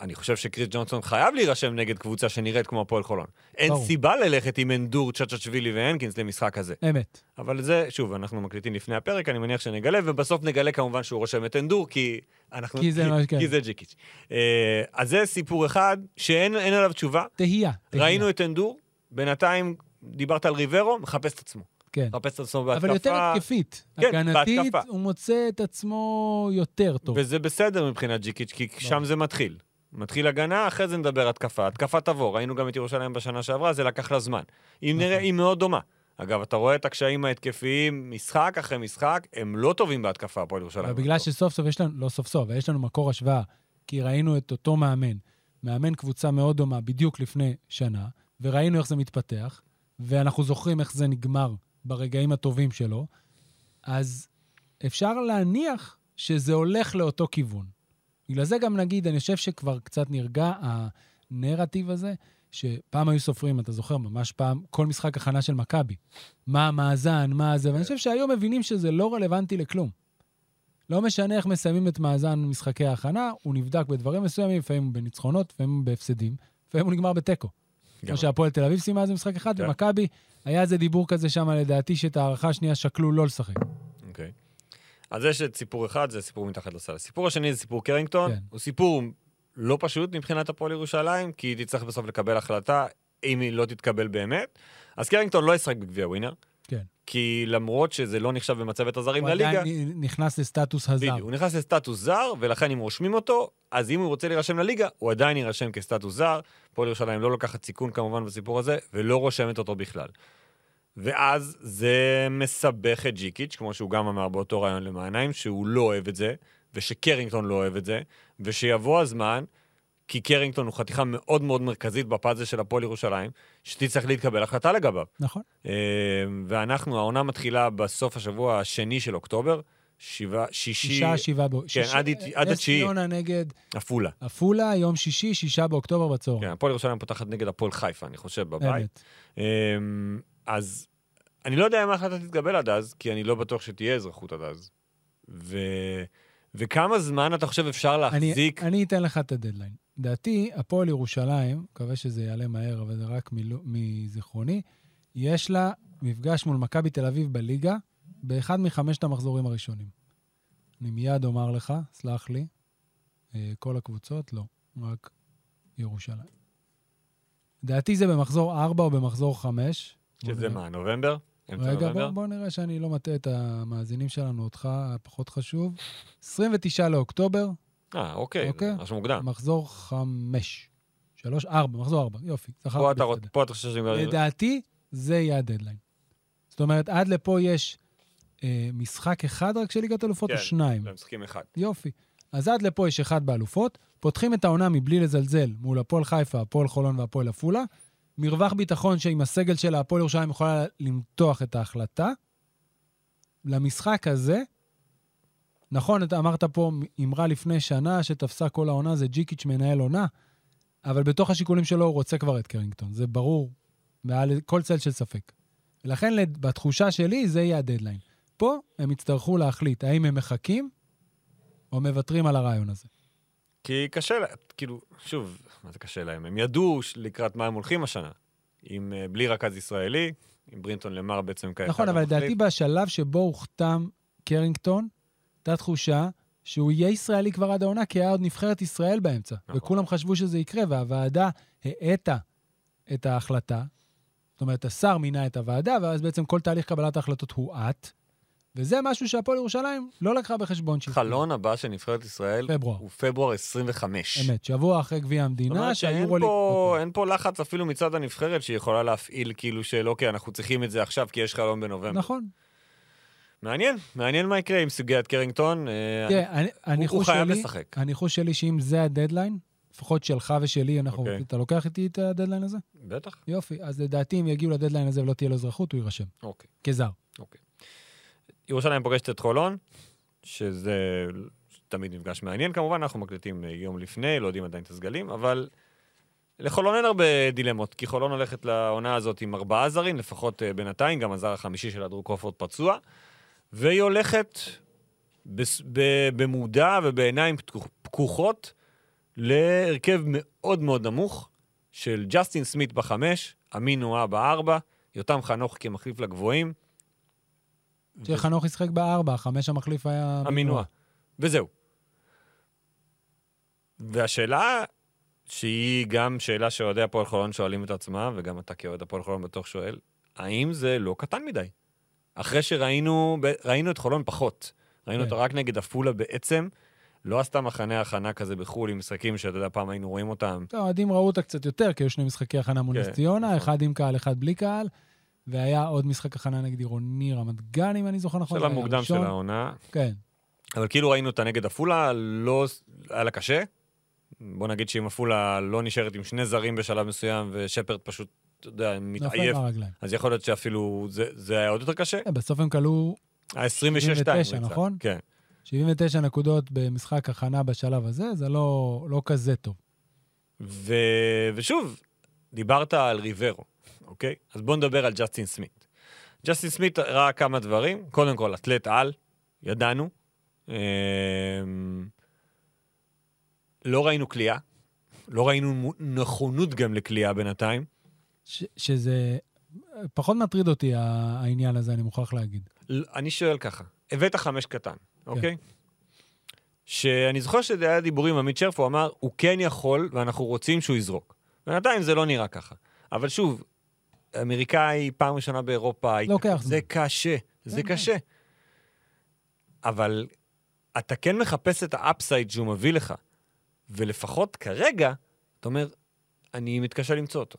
C: אני חושב שקריס ג'ונסון חייב להירשם נגד קבוצה שנראית כמו הפועל חולון. אין
B: ברור.
C: סיבה ללכת עם אנדור, צ'צ'צ'ווילי והנקינס למשחק הזה.
B: אמת.
C: אבל זה, שוב, אנחנו מקליטים לפני הפרק, אני מניח שנגלה, ובסוף נגלה כמובן שהוא רושם את אנדור, כי אנחנו...
B: כי זה מה שכן.
C: כי זה ג'יקיץ'. אה, אז זה סיפור אחד שאין אין עליו תשובה.
B: תהייה. תהייה.
C: ראינו את אנדור, בינתיים דיברת על ריברו, מחפש את עצמו.
B: כן.
C: מחפש את עצמו בהתקפה.
B: אבל יותר התקפית.
C: כן,
B: הגנתית,
C: בהתקפה.
B: הוא מוצא את עצמו יותר טוב. לא.
C: וזה בסדר מבחינת ג'יקיץ', כי שם
B: ברור.
C: זה מתחיל. מתחיל הגנה, אחרי זה נדבר התקפה. התקפה תבוא, ראינו גם את ירושלים בשנה שעברה, זה לקח לה זמן. היא
B: נכון.
C: נראה, היא מאוד דומה. אגב, אתה רואה את הקשיים ההתקפיים משחק אחרי משחק, הם לא טובים בהתקפה, הפועל ירושלים.
B: ובגלל שסוף סוף יש לנו, לא סוף סוף, אבל יש לנו מקור השוואה, כי ראינו את אותו מאמן, מאמן קבוצה מאוד דומה בדיוק לפני שנה, וראינו איך זה מתפתח, ואנחנו זוכרים איך זה נגמר ברגעים הטובים שלו, אז אפשר להניח שזה הולך לאותו כיוון. בגלל זה גם נגיד, אני חושב שכבר קצת נרגע הנרטיב הזה, שפעם היו סופרים, אתה זוכר, ממש פעם, כל משחק הכנה של מכבי. מה המאזן, מה זה, ואני חושב שהיום מבינים שזה לא רלוונטי לכלום. לא משנה איך מסיימים את מאזן משחקי ההכנה, הוא נבדק בדברים מסוימים, לפעמים בניצחונות, לפעמים בהפסדים, לפעמים הוא נגמר בתיקו.
C: גם.
B: כמו שהפועל תל אביב סיימה איזה משחק אחד,
C: כן.
B: ומכבי, היה איזה דיבור כזה שם, לדעתי, שאת ההערכה השנייה שקלו לא לשחק.
C: אוקיי. אז יש את סיפור אחד, זה סיפור מתחת לסל. הסיפור השני זה סיפור קרינגטון.
B: כן.
C: הוא סיפור לא פשוט מבחינת הפועל ירושלים, כי היא תצטרך בסוף לקבל החלטה, אם היא לא תתקבל באמת. אז קרינגטון לא ישחק בגביע ווינר.
B: כן.
C: כי למרות שזה לא נחשב במצבת הזרים
B: הוא
C: לליגה,
B: עדיין נכנס לסטטוס הזר.
C: בדיוק, הוא נכנס לסטטוס זר, ולכן אם רושמים אותו, אז אם הוא רוצה להירשם לליגה, הוא עדיין יירשם כסטטוס זר. הפועל ירושלים לא לוקחת סיכון כמובן בסיפור הזה, ולא רושמת אותו בכלל. ואז זה מסבך את ג'יקיץ', כמו שהוא גם אמר באותו רעיון למעניים, שהוא לא אוהב את זה, ושקרינגטון לא אוהב את זה, ושיבוא הזמן, כי קרינגטון הוא חתיכה מאוד מאוד מרכזית בפאזל של הפועל ירושלים, שתצטרך להתקבל החלטה לגביו.
B: נכון.
C: אה, ואנחנו, העונה מתחילה בסוף השבוע השני של אוקטובר, שבעה, שישי...
B: שישה, שבעה באוקטובר.
C: כן, עד הת- עד התשיעי.
B: נס ציונה נגד
C: עפולה.
B: עפולה, יום שישי, שישה באוקטובר בצהריים.
C: כן, הפועל ירושלים פותחת נגד הפועל חיפה, אני חושב, כן, בבית.
B: באמת.
C: אמ, אז אני לא יודע אם ההחלטה תתקבל עד אז, כי אני לא בטוח שתהיה אזרחות עד אז. ו... וכמה זמן אתה חושב אפשר
B: אני-
C: להחזיק?
B: אני אתן לך את הדדליין. דעתי, הפועל ירושלים, מקווה שזה יעלה מהר, אבל זה רק מלא- מזיכרוני, יש לה מפגש מול מכבי תל אביב בליגה, באחד מחמשת המחזורים הראשונים. אני מיד אומר לך, סלח לי, אה, כל הקבוצות, לא, רק ירושלים. לדעתי זה במחזור 4 או במחזור 5.
C: שזה מה, נובמבר? אמצע
B: רגע, בוא,
C: נובמבר?
B: בוא נראה שאני לא מטעה את המאזינים שלנו, אותך, פחות חשוב. 29 לאוקטובר,
C: אה, אוקיי,
B: אוקיי.
C: משהו מוקדם.
B: מחזור 5. 3, 4, מחזור 4, יופי. זכרתי
C: פה אתה רוצ-
B: בסדר.
C: פה אתה חושב שאני כבר...
B: לדעתי, זה יהיה הדדליין. זאת אומרת, עד לפה יש אה, משחק אחד רק של ליגת אלופות או
C: כן.
B: שניים?
C: הם משחקים אחד.
B: יופי. אז עד לפה יש אחד באלופות, פותחים את העונה מבלי לזלזל מול הפועל חיפה, הפועל חולון והפועל עפולה. מרווח ביטחון שעם הסגל של הפועל ירושלים יכולה למתוח את ההחלטה. למשחק הזה, נכון, אתה אמרת פה אמרה לפני שנה שתפסה כל העונה, זה ג'יקיץ' מנהל עונה, אבל בתוך השיקולים שלו הוא רוצה כבר את קרינגטון, זה ברור, מעל כל צל של ספק. ולכן לד- בתחושה שלי זה יהיה הדדליין. פה הם יצטרכו להחליט האם הם מחכים או מוותרים על הרעיון הזה.
C: כי קשה להם, כאילו, שוב, מה זה קשה להם? הם ידעו ש- לקראת מה הם הולכים השנה. עם, אה, בלי רכז ישראלי, עם ברינטון למר בעצם כעת.
B: נכון, אבל לדעתי בשלב שבו הוכתם קרינגטון, הייתה תחושה שהוא יהיה ישראלי כבר עד העונה, כי היה עוד נבחרת ישראל באמצע.
C: נכון.
B: וכולם חשבו שזה יקרה, והוועדה האטה את ההחלטה. זאת אומרת, השר מינה את הוועדה, ואז בעצם כל תהליך קבלת ההחלטות הואט. וזה משהו שהפועל ירושלים לא לקחה בחשבון. שהיא-
C: חלון הבא של נבחרת ישראל
B: פברואר.
C: הוא פברואר 25.
B: אמת, שבוע אחרי גביע
C: זאת אומרת
B: המדינה, אוקיי.
C: שאין
B: שהיורוליג...
C: פה, אין פה לחץ אפילו מצד הנבחרת שהיא יכולה להפעיל כאילו של אוקיי, אנחנו צריכים את זה עכשיו כי יש חלום בנובמבר.
B: נכון.
C: מעניין, מעניין מה יקרה עם סוגיית קרינגטון. אה,
B: תראה, אני-
C: הוא- הוא
B: הניחוש
C: חייב
B: שלי,
C: לשחק.
B: הניחוש שלי שאם זה הדדליין, לפחות שלך ושלי, אנחנו...
C: אוקיי.
B: אתה לוקח איתי את הדדליין הזה?
C: בטח,
B: יופי. אז לדעתי, אם יגיעו לדדליין הזה ולא תהיה לו אזרחות, הוא יירשם.
C: אוקיי.
B: כזר.
C: ירושלים פוגשת את חולון, שזה תמיד מפגש מעניין כמובן, אנחנו מקליטים אה, יום לפני, לא יודעים עדיין את הסגלים, אבל לחולון אין הרבה דילמות, כי חולון הולכת לעונה הזאת עם ארבעה זרים, לפחות אה, בינתיים, גם הזר החמישי שלה, דרור קופורד, פצוע, והיא הולכת בס- ב- במודע ובעיניים פתוח- פקוחות להרכב מאוד מאוד נמוך של ג'סטין סמית בחמש, אמין נועה בארבע, יותם חנוך כמחליף לגבוהים.
B: שחנוך ישחק בארבע, חמש המחליף היה...
C: המינוע. וזהו. והשאלה, שהיא גם שאלה שאוהדי הפועל חולון שואלים את עצמם, וגם אתה כאוהד הפועל חולון בטוח שואל, האם זה לא קטן מדי? אחרי שראינו ב- ראינו את חולון פחות. ראינו
B: כן.
C: אותה רק נגד עפולה בעצם. לא עשתה מחנה הכנה כזה בחו"ל עם משחקים שאתה יודע, פעם היינו רואים אותם.
B: טוב, האוהדים ראו אותה קצת יותר, כי היו שני משחקי הכנה מול
C: כן,
B: נס ציונה,
C: נכון.
B: אחד עם קהל, אחד בלי קהל, והיה עוד משחק הכנה נגד עירוני רמת גן, אם אני זוכר נכון.
C: שלב
B: זה היה
C: מוקדם של
B: הראשון.
C: העונה.
B: כן.
C: אבל כאילו ראינו אותה נגד עפולה, לא... היה לה קשה. בוא נגיד שאם עפולה לא נשארת עם שני זרים בשלב מסוים, ושפרד פשוט, אתה יודע,
B: נפל
C: מתעייף,
B: מהרגליים.
C: אז יכול להיות שאפילו זה, זה היה עוד יותר קשה.
B: כן, בסוף הם כלו
C: ה-26-2.
B: 29, נכון?
C: כן.
B: 79 נקודות במשחק הכנה בשלב הזה, זה לא לא כזה טוב.
C: ו... ושוב, דיברת על ריברו, אוקיי? אז בוא נדבר על ג'סטין סמית. ג'סטין סמית ראה כמה דברים, קודם כל, אתלט על, ידענו. אמ... לא ראינו כליאה, לא ראינו מו- נכונות גם לכליאה בינתיים.
B: ש- שזה אה, פחות מטריד אותי ה- העניין הזה, אני מוכרח להגיד.
C: ל- אני שואל ככה, הבאת חמש קטן,
B: כן.
C: אוקיי? שאני זוכר שזה היה דיבורים עם עמית שרף, הוא אמר, הוא כן יכול ואנחנו רוצים שהוא יזרוק. בינתיים זה לא נראה ככה. אבל שוב, אמריקאי, פעם ראשונה באירופה,
B: לוקח
C: זה קשה, זה
B: לא כן.
C: קשה. אבל אתה כן מחפש את האפסייד שהוא מביא לך, ולפחות כרגע, אתה אומר, אני מתקשה למצוא אותו.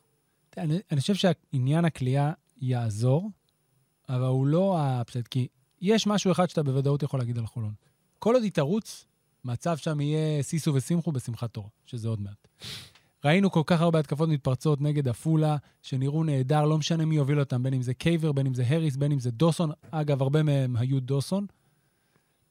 B: אני, אני חושב שעניין הכלייה יעזור, אבל הוא לא האפסט, כי יש משהו אחד שאתה בוודאות יכול להגיד על חולון. כל עוד היא תרוץ, מצב שם יהיה סיסו ושמחו בשמחת תורה, שזה עוד מעט. ראינו כל כך הרבה התקפות מתפרצות נגד עפולה, שנראו נהדר, לא משנה מי יוביל אותם, בין אם זה קייבר, בין אם זה הריס, בין אם זה דוסון. אגב, הרבה מהם היו דוסון.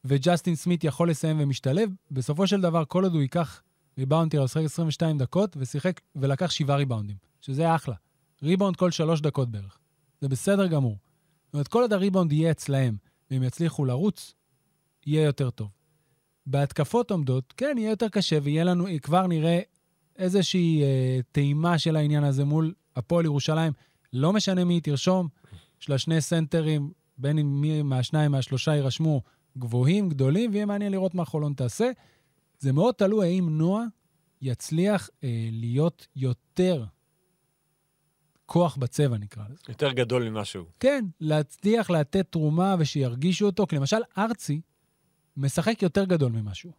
B: וג'סטין סמית יכול לסיים ומשתלב. בסופו של דבר, כל עוד הוא ייקח ריבאונטר, הוא שיחק 22 דקות, ושיחק ולקח שבעה ריבאונדים, שזה אחלה. ריבאונד כל שלוש דקות בערך. זה בסדר גמור. זאת אומרת, כל עוד הריבאונד יהיה אצלהם, והם יצליחו לרוץ, יהיה יותר טוב. בהתקפות עומדות, כן, יהיה יותר קשה, ויהיה לנו, כבר נראה איזושהי אה, טעימה של העניין הזה מול הפועל ירושלים. לא משנה מי היא תרשום, יש לה שני סנטרים, בין אם מי מהשניים, מהשלושה יירשמו, גבוהים, גדולים, ויהיה מעניין לראות מה חולון תעשה. זה מאוד תלוי האם נועה יצליח אה, להיות יותר כוח בצבע, נקרא לזה.
C: יותר גדול ממשהו.
B: כן, להצליח לתת תרומה ושירגישו אותו, כי למשל ארצי משחק יותר גדול ממשהו.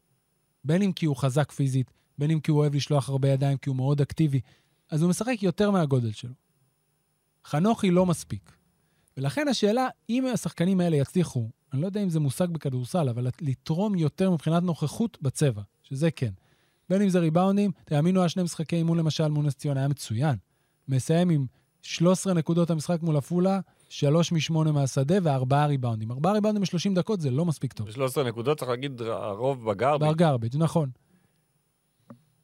B: בין אם כי הוא חזק פיזית, בין אם כי הוא אוהב לשלוח הרבה ידיים, כי הוא מאוד אקטיבי, אז הוא משחק יותר מהגודל שלו. חנוכי לא מספיק. ולכן השאלה, אם השחקנים האלה יצליחו, אני לא יודע אם זה מושג בכדורסל, אבל לתרום יותר מבחינת נוכחות בצבע, שזה כן. בין אם זה ריבאונדים, תאמינו, היה שני משחקי אימון למשל מול נס ציונה, היה מצוין. מסיים עם 13 נקודות המשחק מול עפולה, 3 מ-8 מהשדה וארבעה ריבאונדים. ארבעה ריבאונדים ב-30 דקות זה לא מספיק טוב.
C: ב-13 נקודות צריך להגיד הרוב בגרבי.
B: בר גרביץ', נכון.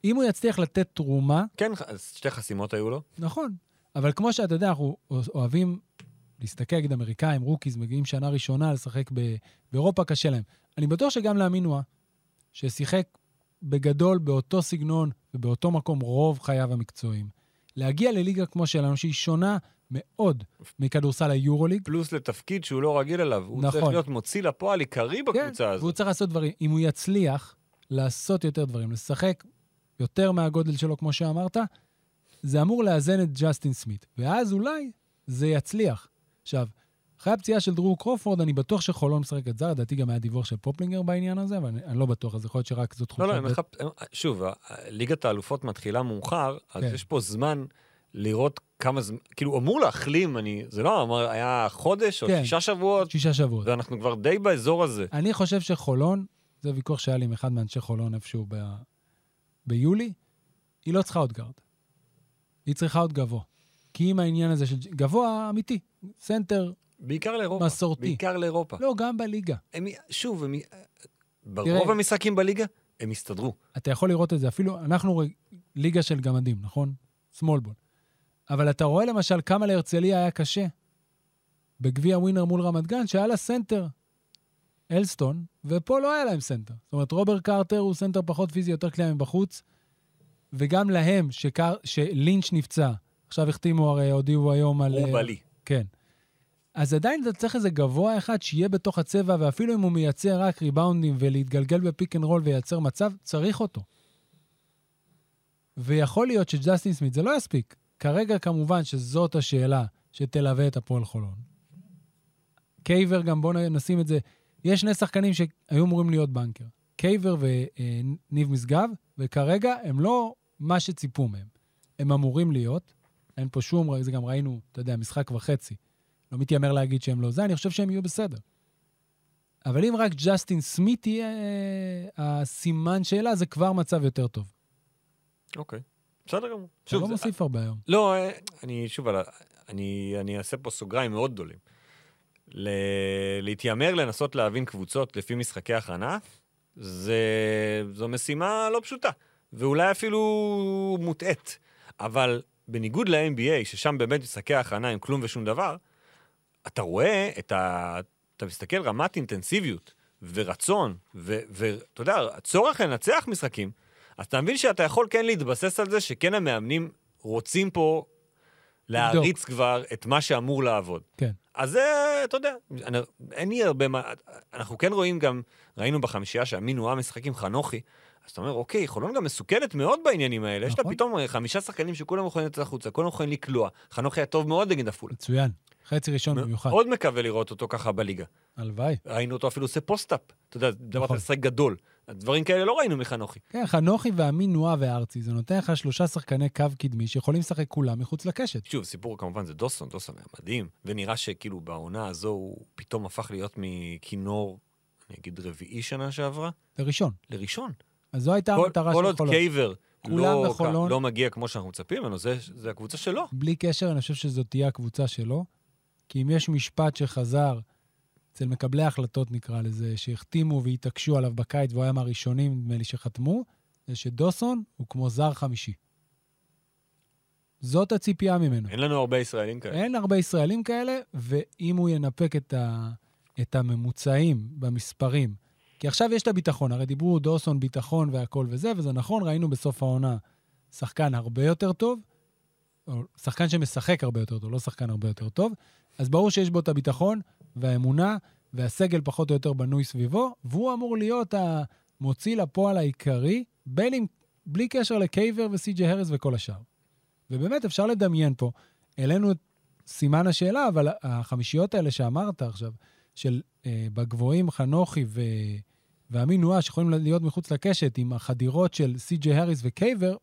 B: אם הוא יצליח לתת תרומה,
C: כן, אז שתי חסימות היו לו.
B: נכון. אבל כמו שאתה יודע, אנחנו אוהבים להסתכל נגד אמריקאים, רוקיז, מגיעים שנה ראשונה לשחק ב- באירופה, קשה להם. אני בטוח שגם לאמינוע, ששיחק בגדול באותו סגנון ובאותו מקום רוב חייו המקצועיים, להגיע לליגה כמו שלנו, שהיא שונה מאוד מכדורסל היורוליג,
C: פלוס לתפקיד שהוא לא רגיל אליו. הוא צריך
B: נכון. כן,
C: להיות מוציא לפועל עיקרי בקבוצה
B: והוא
C: הזאת.
B: צריך לעשות דברים. אם הוא יצליח לעשות יותר דברים, לשחק יותר מהגודל שלו, כמו שאמרת, זה אמור לאזן את ג'סטין סמית. ואז אולי זה יצליח. עכשיו, אחרי הפציעה של דרור קרופורד, אני בטוח שחולון משחקת זר, לדעתי גם היה דיווח של פופלינגר בעניין הזה, אבל אני, אני לא בטוח, אז יכול להיות שרק זאת
C: לא,
B: תחושה.
C: לא, הם
B: בית-
C: מחפ... הם- שוב, ה- ה- ליגת האלופות מתחילה מאוחר, אז
B: כן.
C: יש פה זמן לראות כמה זמן, כאילו, הוא אמור להחלים, אני, זה לא אמר, היה חודש או
B: כן.
C: שישה שבועות,
B: שישה שבועות.
C: ואנחנו כבר די באזור הזה.
B: אני חושב שחולון, זה ויכוח שהיה לי עם אחד מאנשי חולון איפשהו ב... ביולי, היא לא צריכה עוד גארד. היא צריכה עוד גבוה. כי אם העניין הזה של גבוה, אמיתי, סנטר,
C: בעיקר לאירופה.
B: מסורתי.
C: בעיקר לאירופה.
B: לא, גם בליגה.
C: הם, שוב, הם, ברוב המשחקים בליגה, הם הסתדרו.
B: אתה יכול לראות את זה, אפילו אנחנו ר- ליגה של גמדים, נכון? small ball. אבל אתה רואה למשל כמה להרצליה היה קשה בגביע ווינר מול רמת גן, שהיה לה סנטר, אלסטון, ופה לא היה להם סנטר. זאת אומרת, רוברט קרטר הוא סנטר פחות פיזי, יותר כלי מבחוץ, וגם להם, שקר, שלינץ' נפצע, עכשיו החתימו, הרי הודיעו היום על...
C: הוא
B: אה,
C: בלי.
B: כן. אז עדיין אתה צריך איזה גבוה אחד שיהיה בתוך הצבע, ואפילו אם הוא מייצר רק ריבאונדים ולהתגלגל בפיק אנד רול וייצר מצב, צריך אותו. ויכול להיות שג'סטין סמית זה לא יספיק. כרגע כמובן שזאת השאלה שתלווה את הפועל חולון. קייבר גם, בואו נשים את זה, יש שני שחקנים שהיו אמורים להיות בנקר. קייבר וניב משגב, וכרגע הם לא מה שציפו מהם. הם אמורים להיות, אין פה שום, זה גם ראינו, אתה יודע, משחק וחצי. לא מתיימר להגיד שהם לא זה, אני חושב שהם יהיו בסדר. אבל אם רק ג'סטין סמית יהיה אה, הסימן שאלה, זה כבר מצב יותר טוב.
C: אוקיי. בסדר גמור.
B: שוב, לא
C: זה-
B: מוסיף הרבה היום.
C: לא, אה, אני שוב, על ה- אני, אני אעשה פה סוגריים מאוד גדולים. ל... להתיימר לנסות להבין קבוצות לפי משחקי הכנה, זה... זו משימה לא פשוטה, ואולי אפילו מוטעית. אבל בניגוד ל-NBA, ששם באמת משחקי ההכנה הם כלום ושום דבר, אתה רואה את ה... אתה מסתכל רמת אינטנסיביות ורצון, ואתה יודע, הצורך לנצח משחקים, אז אתה מבין שאתה יכול כן להתבסס על זה שכן המאמנים רוצים פה להריץ כבר את מה שאמור לעבוד.
B: כן.
C: אז זה, אתה יודע, אני, אין לי הרבה מה... אנחנו כן רואים גם, ראינו בחמישייה שאמינו היה משחק עם חנוכי, אז אתה אומר, אוקיי, חולון גם מסוכנת מאוד בעניינים האלה. יש לה
B: נכון.
C: פתאום אה, חמישה שחקנים שכולם יכולים לצאת החוצה, כולם יכולים לקלוע. חנוכי היה טוב מאוד נגד עפולה.
B: מצוין. חצי ראשון במיוחד.
C: מאוד מקווה לראות אותו ככה בליגה.
B: הלוואי.
C: ראינו אותו אפילו עושה פוסט-אפ. אתה יודע, דבר
B: נכון.
C: משחק גדול. דברים כאלה לא ראינו מחנוכי.
B: כן, חנוכי ועמינואה וארצי, זה נותן לך שלושה שחקני קו קדמי שיכולים לשחק כולם מחוץ לקשת.
C: שוב, סיפור כמובן זה דוסון, דוסון היה מדהים, ונראה שכאילו בעונה הזו הוא פתאום הפך להיות מכינור, אני אגיד רביעי שנה שעברה,
B: לראשון.
C: לראשון.
B: אז זו הייתה
C: כל,
B: המטרה
C: כל
B: של
C: עוד
B: חולון.
C: קייבר
B: כולם
C: לא,
B: בחולון.
C: לא מגיע כמו שאנחנו מצפים ממנו, זה, זה הקבוצה שלו.
B: בלי קשר, אני חושב שזאת תהיה הקבוצה שלו, כי אם יש משפט שחזר אצל מקבלי ההחלטות, נקרא לזה, שהחתימו והתעקשו עליו בקיץ, והוא היה מהראשונים, נדמה לי, שחתמו, זה שדוסון הוא כמו זר חמישי. זאת הציפייה ממנו.
C: אין לנו הרבה ישראלים כאלה.
B: אין הרבה ישראלים כאלה, ואם הוא ינפק את, ה, את הממוצעים במספרים, כי עכשיו יש את הביטחון, הרי דיברו דוסון ביטחון והכל וזה, וזה נכון, ראינו בסוף העונה שחקן הרבה יותר טוב, או שחקן שמשחק הרבה יותר טוב, לא שחקן הרבה יותר טוב, אז ברור שיש בו את הביטחון והאמונה והסגל פחות או יותר בנוי סביבו, והוא אמור להיות המוציא לפועל העיקרי, בין אם, בלי קשר לקייבר וסי.ג'י הרס וכל השאר. ובאמת, אפשר לדמיין פה, העלינו את סימן השאלה, אבל החמישיות האלה שאמרת עכשיו, של אה, בגבוהים חנוכי ו... ואמין נועה, שיכולים להיות מחוץ לקשת עם החדירות של סי.ג'י הריס וקייבר,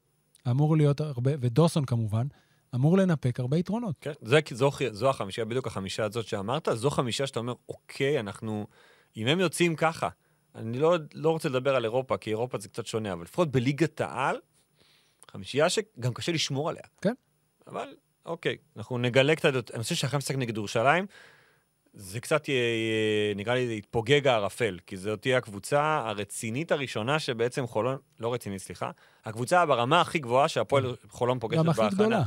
B: אמור להיות הרבה, ודוסון כמובן, אמור לנפק הרבה יתרונות.
C: כן, זה, זו, זו החמישה, בדיוק החמישה הזאת שאמרת, זו חמישה שאתה אומר, אוקיי, אנחנו... אם הם יוצאים ככה, אני לא, לא רוצה לדבר על אירופה, כי אירופה זה קצת שונה, אבל לפחות בליגת העל, חמישייה שגם קשה לשמור עליה.
B: כן.
C: אבל, אוקיי, אנחנו נגלה קצת, יותר- אני חושב שאחרי המשחק נגד ירושלים, זה קצת, יהיה- יהיה- נקרא לזה, יתפוגג הערפל, כי זאת תהיה הקבוצה הרצינית הראשונה שבעצם חולון, לא רצינית, סליחה, הקבוצה ברמה הכי גבוהה שהפועל חולון פוגשת
B: גם
C: בהכנה.
B: הכי גדולה.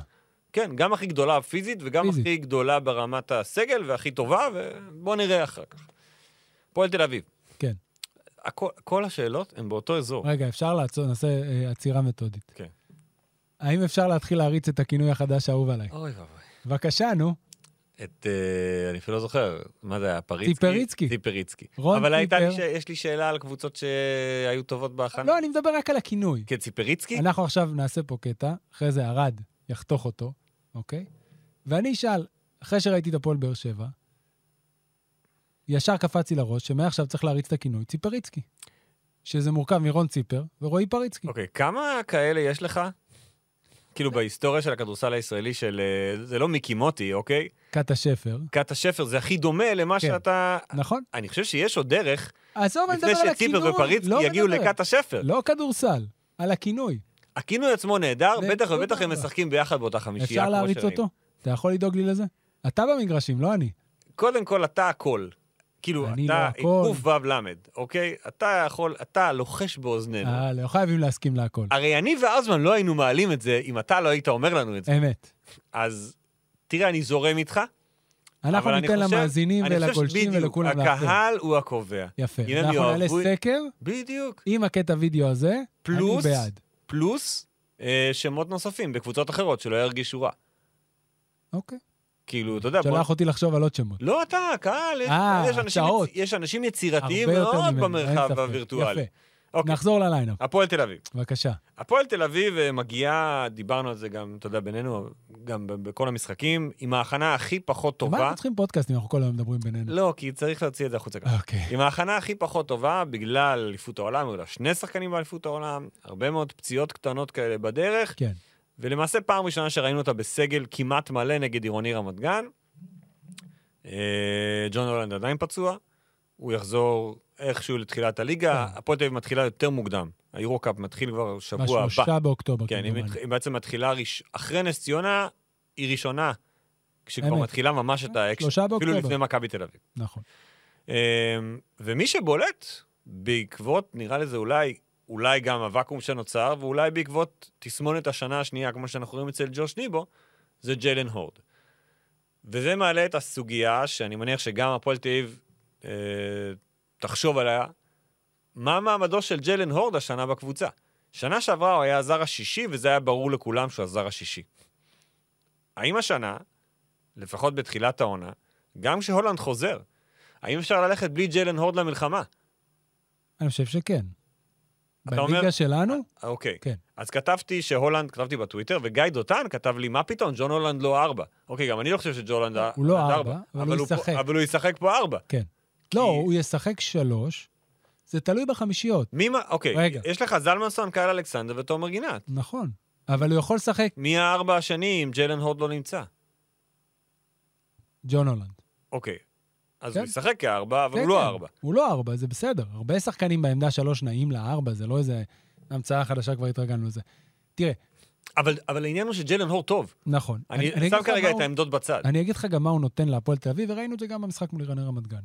C: כן, גם הכי גדולה פיזית, וגם
B: פיזית.
C: פיזית. הכי גדולה ברמת הסגל, והכי טובה, ובואו נראה אחר כך. פועל תל אביב.
B: כן.
C: הכל, כל השאלות הן באותו אזור.
B: רגע, אפשר לעצור, נעשה אה, עצירה מתודית.
C: כן.
B: האם אפשר להתחיל להריץ את הכינוי החדש האהוב עליי?
C: אוי ואבוי.
B: בבקשה, נו.
C: את, אה, אני אפילו לא זוכר, מה זה היה, פריצקי?
B: טיפריצקי.
C: טיפריצקי.
B: רון
C: אבל הייתה לי, ש...
B: טיפר.
C: יש לי שאלה על קבוצות שהיו טובות בהכנה.
B: לא, אני מדבר רק על הכינוי.
C: כן, ציפריצקי?
B: אנחנו עכשיו נעשה פה קטע, אחרי זה ארד יחתוך אותו, אוקיי? ואני אשאל, אחרי שראיתי את הפועל באר שבע, ישר קפץ לי לראש שמעכשיו צריך להריץ את הכינוי ציפריצקי. שזה מורכב מרון ציפר ורועי פריצקי.
C: אוקיי, כמה כאלה יש לך? כאילו בהיסטוריה של הכדורסל הישראלי של... אה, זה לא מיקי מוטי, אוקיי?
B: קאטה שפר,
C: קאטה שפר זה הכי דומה למה
B: כן.
C: שאתה...
B: נכון?
C: אני חושב שיש עוד דרך
B: עזוב, אני מדבר
C: לפני
B: על הכינוי.
C: שציפר ופריצקי
B: לא
C: יגיעו
B: מדבר.
C: לכת השפר.
B: לא כדורסל, על הכינוי.
C: הכינוי עצמו נהדר,
B: זה
C: בטח ובטח הם
B: סבבה.
C: משחקים ביחד באותה חמישייה.
B: לא, אפשר
C: כמו
B: להריץ
C: שראינו.
B: אותו? אתה יכול לדאוג לי לזה? אתה במגרשים, לא אני.
C: קודם כל, אתה הכל. כאילו,
B: אני
C: אתה
B: לא הכל.
C: קו"ו למד, אוקיי? אתה יכול, אתה לוחש באוזנינו.
B: אה, לא חייבים להסכים להכל.
C: הרי אני ואזמן לא היינו מעלים את זה אם אתה לא היית אומר לנו את זה.
B: אמת.
C: אז תראה, אני זורם איתך,
B: אנחנו
C: אבל אני
B: ניתן
C: חושב-
B: למאזינים
C: אני חושב
B: ולגולשים
C: שבדיוק,
B: ולכולם כן. להפתיע.
C: הקהל הוא הקובע.
B: יפה.
C: אם הם
B: אנחנו נעלה
C: יאהבו-
B: סקר
C: בדיוק.
B: עם הקטע וידאו הזה, אני
C: פלוס-
B: בעד.
C: פלוס אה, שמות נוספים בקבוצות אחרות שלא ירגישו רע.
B: אוקיי.
C: כאילו, אתה יודע, בוא-
B: שלח אותי לחשוב על עוד שמות.
C: לא אתה, הקהל, יש-
B: אה,
C: יש אנשים-
B: הצעות.
C: יש אנשים
B: הרבה
C: יצירתיים
B: יותר
C: מאוד
B: ממנו, אין ספק.
C: במרחב הווירטואלי.
B: יפה.
C: אוקיי,
B: נחזור לליינאפ,
C: הפועל תל אביב.
B: בבקשה.
C: הפועל תל אביב אה, מגיעה, דיברנו על זה גם, אתה יודע, בינינו, גם ב- בכל המשחקים, עם ההכנה הכי פחות
B: מה
C: טובה.
B: אנחנו צריכים פודקאסט אם אנחנו כל היום מדברים בינינו?
C: לא, כי צריך להוציא את זה החוצה גם.
B: אוקיי.
C: עם ההכנה הכי פחות טובה, בגלל אליפות העולם, היו לה שני שחקנים באליפות העולם, הרבה מאוד פציעות קטנות כאלה בדרך,
B: כן.
C: ולמעשה פעם ראשונה שראינו אותה בסגל כמעט מלא נגד עירוני רמת גן. אה, ג'ון הולנד עדיין פצוע, הוא יחזור איכשהו לתחילת הליגה,
B: כן.
C: הפועל תל אביב מתחילה יותר מוקדם. היורו-קאפ מתחיל כבר שבוע הבא.
B: בשלושה באוקטובר.
C: כן, היא
B: כמדומני.
C: מת- היא בעצם מתחילה ראש- אחרי נס ציונה, היא ראשונה, כשכבר
B: אמת.
C: מתחילה ממש את האקשן,
B: כן, שלושה
C: אפילו
B: באוקטובר.
C: לפני מכבי תל אביב.
B: נכון.
C: אמ, ומי שבולט, בעקבות, נראה לזה אולי, אולי גם הוואקום שנוצר, ואולי בעקבות תסמונת השנה השנייה, כמו שאנחנו רואים אצל ג'וש ניבו, זה ג'יילן הורד. וזה מעלה את הסוגיה, שאני מניח שגם הפועל תל אביב אה, תחשוב עליה, מה מעמדו של ג'יילן הורד השנה בקבוצה? שנה שעברה הוא היה הזר השישי, וזה היה ברור לכולם שהוא הזר השישי. האם השנה, לפחות בתחילת העונה, גם כשהולנד חוזר, האם אפשר ללכת בלי ג'יילן הורד למלחמה?
B: אני חושב שכן.
C: אתה אומר-
B: בליגה שלנו?
C: אה, אוקיי.
B: כן.
C: אז כתבתי שהולנד, כתבתי בטוויטר, וגיא דותן כתב לי, מה פתאום, ג'ון הולנד לא ארבע. אוקיי, גם אני לא חושב שג'ון הולנד
B: הוא לא
C: הולנד
B: ארבע, אבל הוא
C: פה-
B: ישחק.
C: אבל הוא ישחק פה ארבע.
B: לא, הוא ישחק שלוש. זה תלוי בחמישיות,
C: מי מה, אוקיי,
B: רגע.
C: יש לך זלמנסון, קהל אלכסנדר ותומר גינת.
B: נכון. אבל הוא יכול לשחק
C: מי הארבע השני אם ג'יילן הורד לא נמצא?
B: ג'ון הולנד.
C: אוקיי. אז
B: כן.
C: הוא ישחק כארבע, אבל
B: כן,
C: הוא לא
B: כן.
C: ארבע.
B: הוא לא ארבע, זה בסדר. הרבה שחקנים בעמדה שלוש נעים לארבע, זה לא איזה המצאה חדשה, כבר התרגלנו לזה. תראה,
C: אבל אבל העניין הוא שג'יילן הורד טוב.
B: נכון.
C: אני
B: אגיד
C: שם
B: לך
C: כרגע
B: מה
C: את
B: הוא-
C: העמדות בצד.
B: אני אגיד לך גם מה הוא נותן להפועל תל אביב, וראינו את זה גם במשחק מול עירני רמת גן.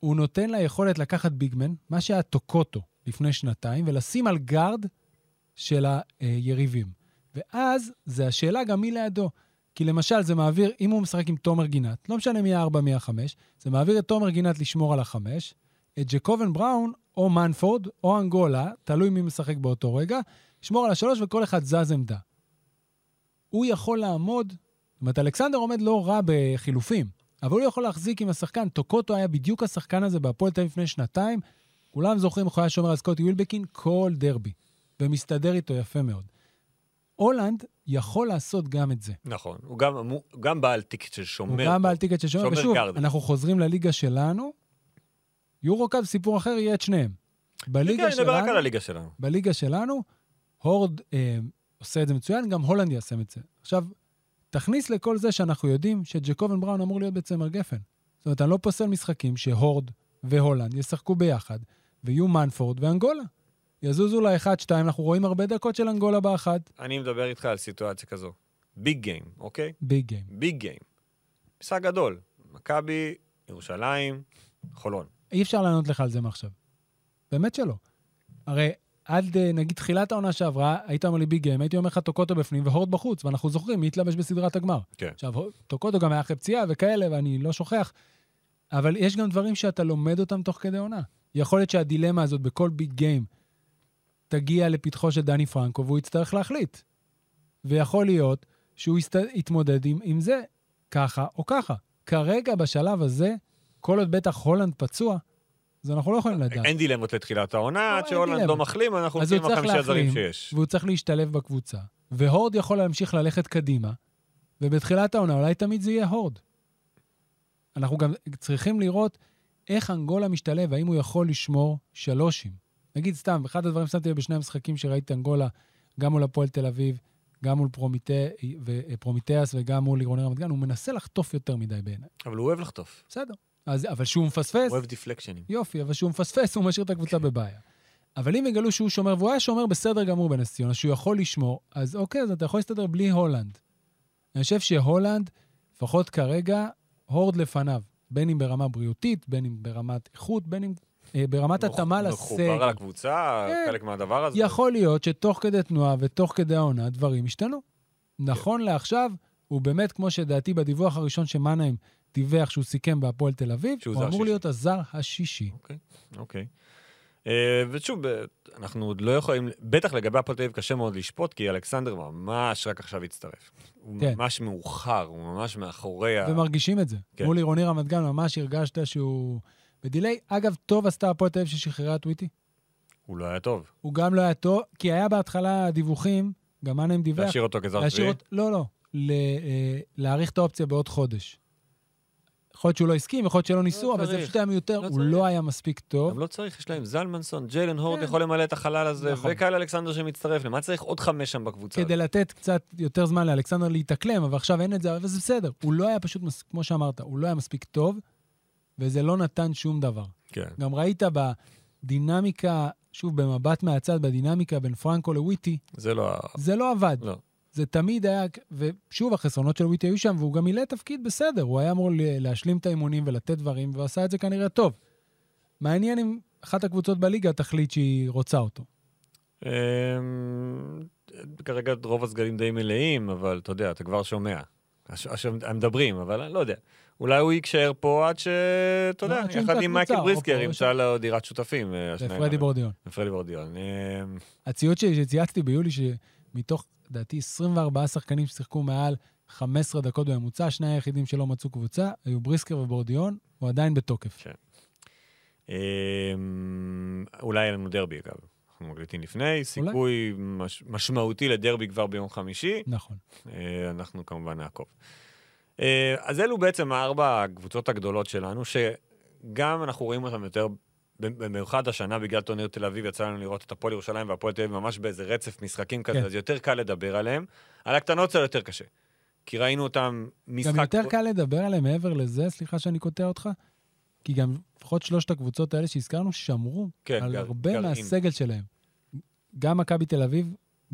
B: הוא נותן לה יכולת לקחת ביגמן, מה שהיה טוקוטו לפני שנתיים, ולשים על גארד של היריבים. ואז זה השאלה גם מי לידו. כי למשל, זה מעביר, אם הוא משחק עם תומר גינת, לא משנה מי הארבע, מי החמש, זה מעביר את תומר גינת לשמור על החמש, את ג'קובן בראון, או מנפורד, או אנגולה, תלוי מי משחק באותו רגע, לשמור על השלוש וכל אחד זז עמדה. הוא יכול לעמוד, זאת אומרת, אלכסנדר עומד לא רע בחילופים, אבל הוא יכול להחזיק עם השחקן. טוקוטו היה בדיוק השחקן הזה בהפועל תל אביב לפני שנתיים. כולם זוכרים איך הוא היה שומר על סקוטי ווילבקין כל דרבי, ומסתדר איתו יפה מאוד. הולנד יכול לעשות גם את זה.
C: נכון, הוא גם, הוא גם בעל טיקט של
B: הוא
C: שומר.
B: גם בעל טיקט של שומר,
C: שומר
B: ושוב,
C: גארדי.
B: אנחנו חוזרים לליגה שלנו, יורו קאפ, סיפור אחר, יהיה את שניהם. בליגה
C: כן, נדבר רק על
B: שלנו,
C: הליגה שלנו.
B: בליגה שלנו, הורד אה, עושה את זה מצוין, גם הולנד יעשם את זה. עכשיו, תכניס לכל זה שאנחנו יודעים שג'קובן בראון אמור להיות בצמר גפן. זאת אומרת, אני לא פוסל משחקים שהורד והולנד ישחקו ביחד, ויהיו מנפורד ואנגולה. יזוזו לאחד, שתיים, אנחנו רואים הרבה דקות של אנגולה באחת,
C: אני מדבר איתך על סיטואציה כזו. ביג גיים, אוקיי?
B: ביג גיים.
C: ביג גיים. משחק גדול. מכבי, ירושלים, חולון.
B: אי אפשר לענות לך על זה מעכשיו. באמת שלא. הרי עד, אה, נגיד, תחילת העונה שעברה, היית אומר לי ביג גיים, הייתי אומר לך טוקוטו בפנים והורד בחוץ, ואנחנו זוכרים מי התלבש בסדרת הגמר.
C: כן.
B: עכשיו, הו- טוקוטו גם היה אחרי פציעה וכאלה, ואני לא שוכח, אבל יש גם דברים שאתה לומד אותם תוך כדי עונה. יכול להיות שהדילמה הזאת בכל ביג גיים תגיע לפתחו של דני פרנקו והוא יצטרך להחליט. ויכול להיות שהוא יסת... יתמודד עם, עם זה ככה או ככה. כרגע, בשלב הזה, כל עוד בטח הולנד פצוע, אז אנחנו לא יכולים לדעת.
C: אין דילמות לתחילת העונה,
B: לא,
C: עד
B: אין
C: שהולנד
B: דילמה.
C: לא מחלים, אנחנו
B: אז הוא
C: הולכים עם
B: צריך
C: החמישה זרים
B: להחלים,
C: שיש.
B: והוא צריך להשתלב בקבוצה. והורד יכול להמשיך ללכת קדימה, ובתחילת העונה אולי תמיד זה יהיה הורד. אנחנו גם צריכים לראות איך אנגולה משתלב, האם הוא יכול לשמור שלושים. נגיד סתם, אחד הדברים ששמתי לב בשני המשחקים שראיתי אנגולה, גם מול הפועל תל אביב, גם מול פרומיטא- ו- פרומיטאס וגם מול עירוני רמת גן, הוא מנסה לחטוף יותר מדי בעיניי.
C: אבל הוא אוהב לחטוף.
B: בסדר. אז, אבל שהוא מפספס...
C: הוא אוהב דיפלקשנים.
B: יופי, אבל שהוא מפספס, הוא משאיר את הקבוצה בבעיה. אבל אם יגלו שהוא שומר, והוא היה שומר בסדר גמור בנס ציונה, שהוא יכול לשמור, אז אוקיי, אז אתה יכול להסתדר בלי הולנד. אני חושב שהולנד, לפחות כרגע, הורד לפניו, בין אם ברמה בריאותית, בין אם ברמת איכות, בין אם אה, ברמת התאמה
C: הוא
B: לסגל.
C: מחובר לקבוצה,
B: כן.
C: חלק מהדבר הזה.
B: יכול להיות שתוך כדי תנועה ותוך כדי העונה דברים השתנו.
C: כן.
B: נכון לעכשיו, הוא באמת, כמו שדעתי בדיווח הראשון שמאנהיים דיווח שהוא סיכם בהפועל תל אביב,
C: שהוא
B: הוא
C: זר
B: אמור
C: שישי.
B: להיות הזר השישי.
C: אוקיי. אה, ושוב, אה, אנחנו עוד לא יכולים, בטח לגבי הפועל תל אביב קשה מאוד לשפוט, כי אלכסנדר ממש רק עכשיו הצטרף. הוא
B: כן.
C: ממש מאוחר, הוא ממש מאחורי ה...
B: ומרגישים את זה.
C: כן.
B: מול עירוני רמת גן ממש הרגשת שהוא בדיליי. אגב, טוב עשתה הפועל תל אביב ששחררה את וויטי.
C: הוא לא היה טוב.
B: הוא גם לא היה טוב, כי היה בהתחלה דיווחים, גם אנהם דיווח.
C: להשאיר אותו כזר שביעי?
B: אות- לא, לא. ל- אה, להאריך את האופציה בעוד חודש. יכול להיות שהוא לא הסכים, יכול להיות שלא ניסו, אבל זה
C: צריך.
B: פשוט היה מיותר,
C: לא
B: הוא
C: צריך.
B: לא היה מספיק טוב.
C: גם לא צריך, יש להם זלמנסון, ג'יילן הורד
B: כן.
C: יכול למלא את החלל הזה,
B: נכון.
C: וקהל אלכסנדר שמצטרף, למה צריך עוד חמש שם בקבוצה?
B: כדי לתת קצת יותר זמן לאלכסנדר להתאקלם, אבל עכשיו אין את זה, אבל זה בסדר. הוא לא היה פשוט, מס- כמו שאמרת, הוא לא היה מספיק טוב, וזה לא נתן שום דבר.
C: כן.
B: גם ראית בדינמיקה, שוב, במבט מהצד, בדינמיקה בין פרנקו לוויטי,
C: זה לא... ה-
B: זה לא עבד.
C: לא.
B: זה תמיד היה, ושוב, החסרונות של וויטי היו שם, והוא גם מילא תפקיד בסדר. הוא היה אמור ל- להשלים את האימונים ולתת דברים, והוא עשה את זה כנראה טוב. מעניין אם אחת הקבוצות בליגה תחליט שהיא רוצה אותו.
C: אמ, כרגע רוב הסגלים די מלאים, אבל אתה יודע, אתה כבר שומע. הש- הש- הם מדברים, אבל אני לא יודע. אולי הוא יישאר פה עד ש... אתה
B: לא,
C: יודע,
B: עד שהוא
C: יחד
B: ימצא
C: עם מייקל
B: קבוצה,
C: בריסקר
B: או פה, או
C: ימצא
B: שם.
C: לו דירת שותפים. אה, השניים
B: ופרדי
C: האלה.
B: בורדיון.
C: ופרדי בורדיון. אמ,
B: הציוד שלי שצייצתי ביולי, שמתוך, לדעתי, 24 שחקנים ששיחקו מעל 15 דקות בממוצע, שני היחידים שלא מצאו קבוצה היו בריסקר ובורדיון, הוא עדיין בתוקף.
C: אמ, אולי יהיה לנו דרבי, אגב. אנחנו מקליטים לפני, סיכוי מש- משמעותי לדרבי כבר ביום חמישי.
B: נכון.
C: אה, אנחנו כמובן נעקוב. אה, אז אלו בעצם הארבע הקבוצות הגדולות שלנו, שגם אנחנו רואים אותן יותר, במיוחד השנה בגלל טורניר תל אביב, יצא לנו לראות את הפועל ירושלים והפועל תל אביב ממש באיזה רצף משחקים כזה,
B: כן.
C: אז יותר קל לדבר עליהם. על הקטנות זה יותר קשה, כי ראינו אותם משחק...
B: גם יותר קל לדבר עליהם מעבר לזה, סליחה שאני קוטע אותך, כי גם לפחות שלושת הקבוצות האלה שהזכרנו שמרו
C: כן,
B: על
C: גר-
B: הרבה
C: גרעין.
B: מהסגל שלהם. גם מכבי תל אביב,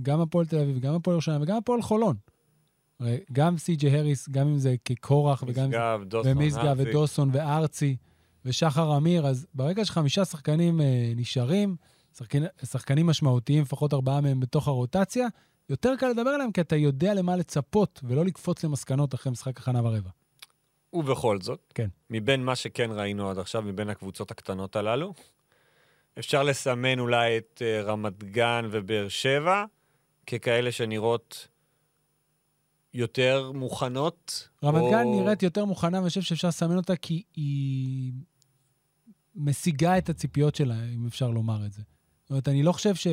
B: גם הפועל תל אביב, גם הפועל ירושלים וגם הפועל חולון. הרי גם סי.ג'י הריס, גם אם זה כקורח וגם אם זה
C: משגב, דוסון,
B: ומשגב
C: ארצי.
B: ודוסון וארצי ושחר אמיר, אז ברגע שחמישה שחקנים אה, נשארים, שחקנים, שחקנים משמעותיים, לפחות ארבעה מהם בתוך הרוטציה, יותר קל לדבר עליהם כי אתה יודע למה לצפות ולא לקפוץ למסקנות אחרי משחק הכנה ורבע.
C: ובכל זאת,
B: כן.
C: מבין מה שכן ראינו עד עכשיו, מבין הקבוצות הקטנות הללו, אפשר לסמן אולי את אה, רמת גן ובאר שבע ככאלה שנראות יותר מוכנות?
B: רמת
C: או-
B: גן נראית יותר מוכנה, ואני חושב שאפשר לסמן אותה כי היא משיגה את הציפיות שלה, אם אפשר לומר את זה. זאת אומרת, אני לא חושב ש...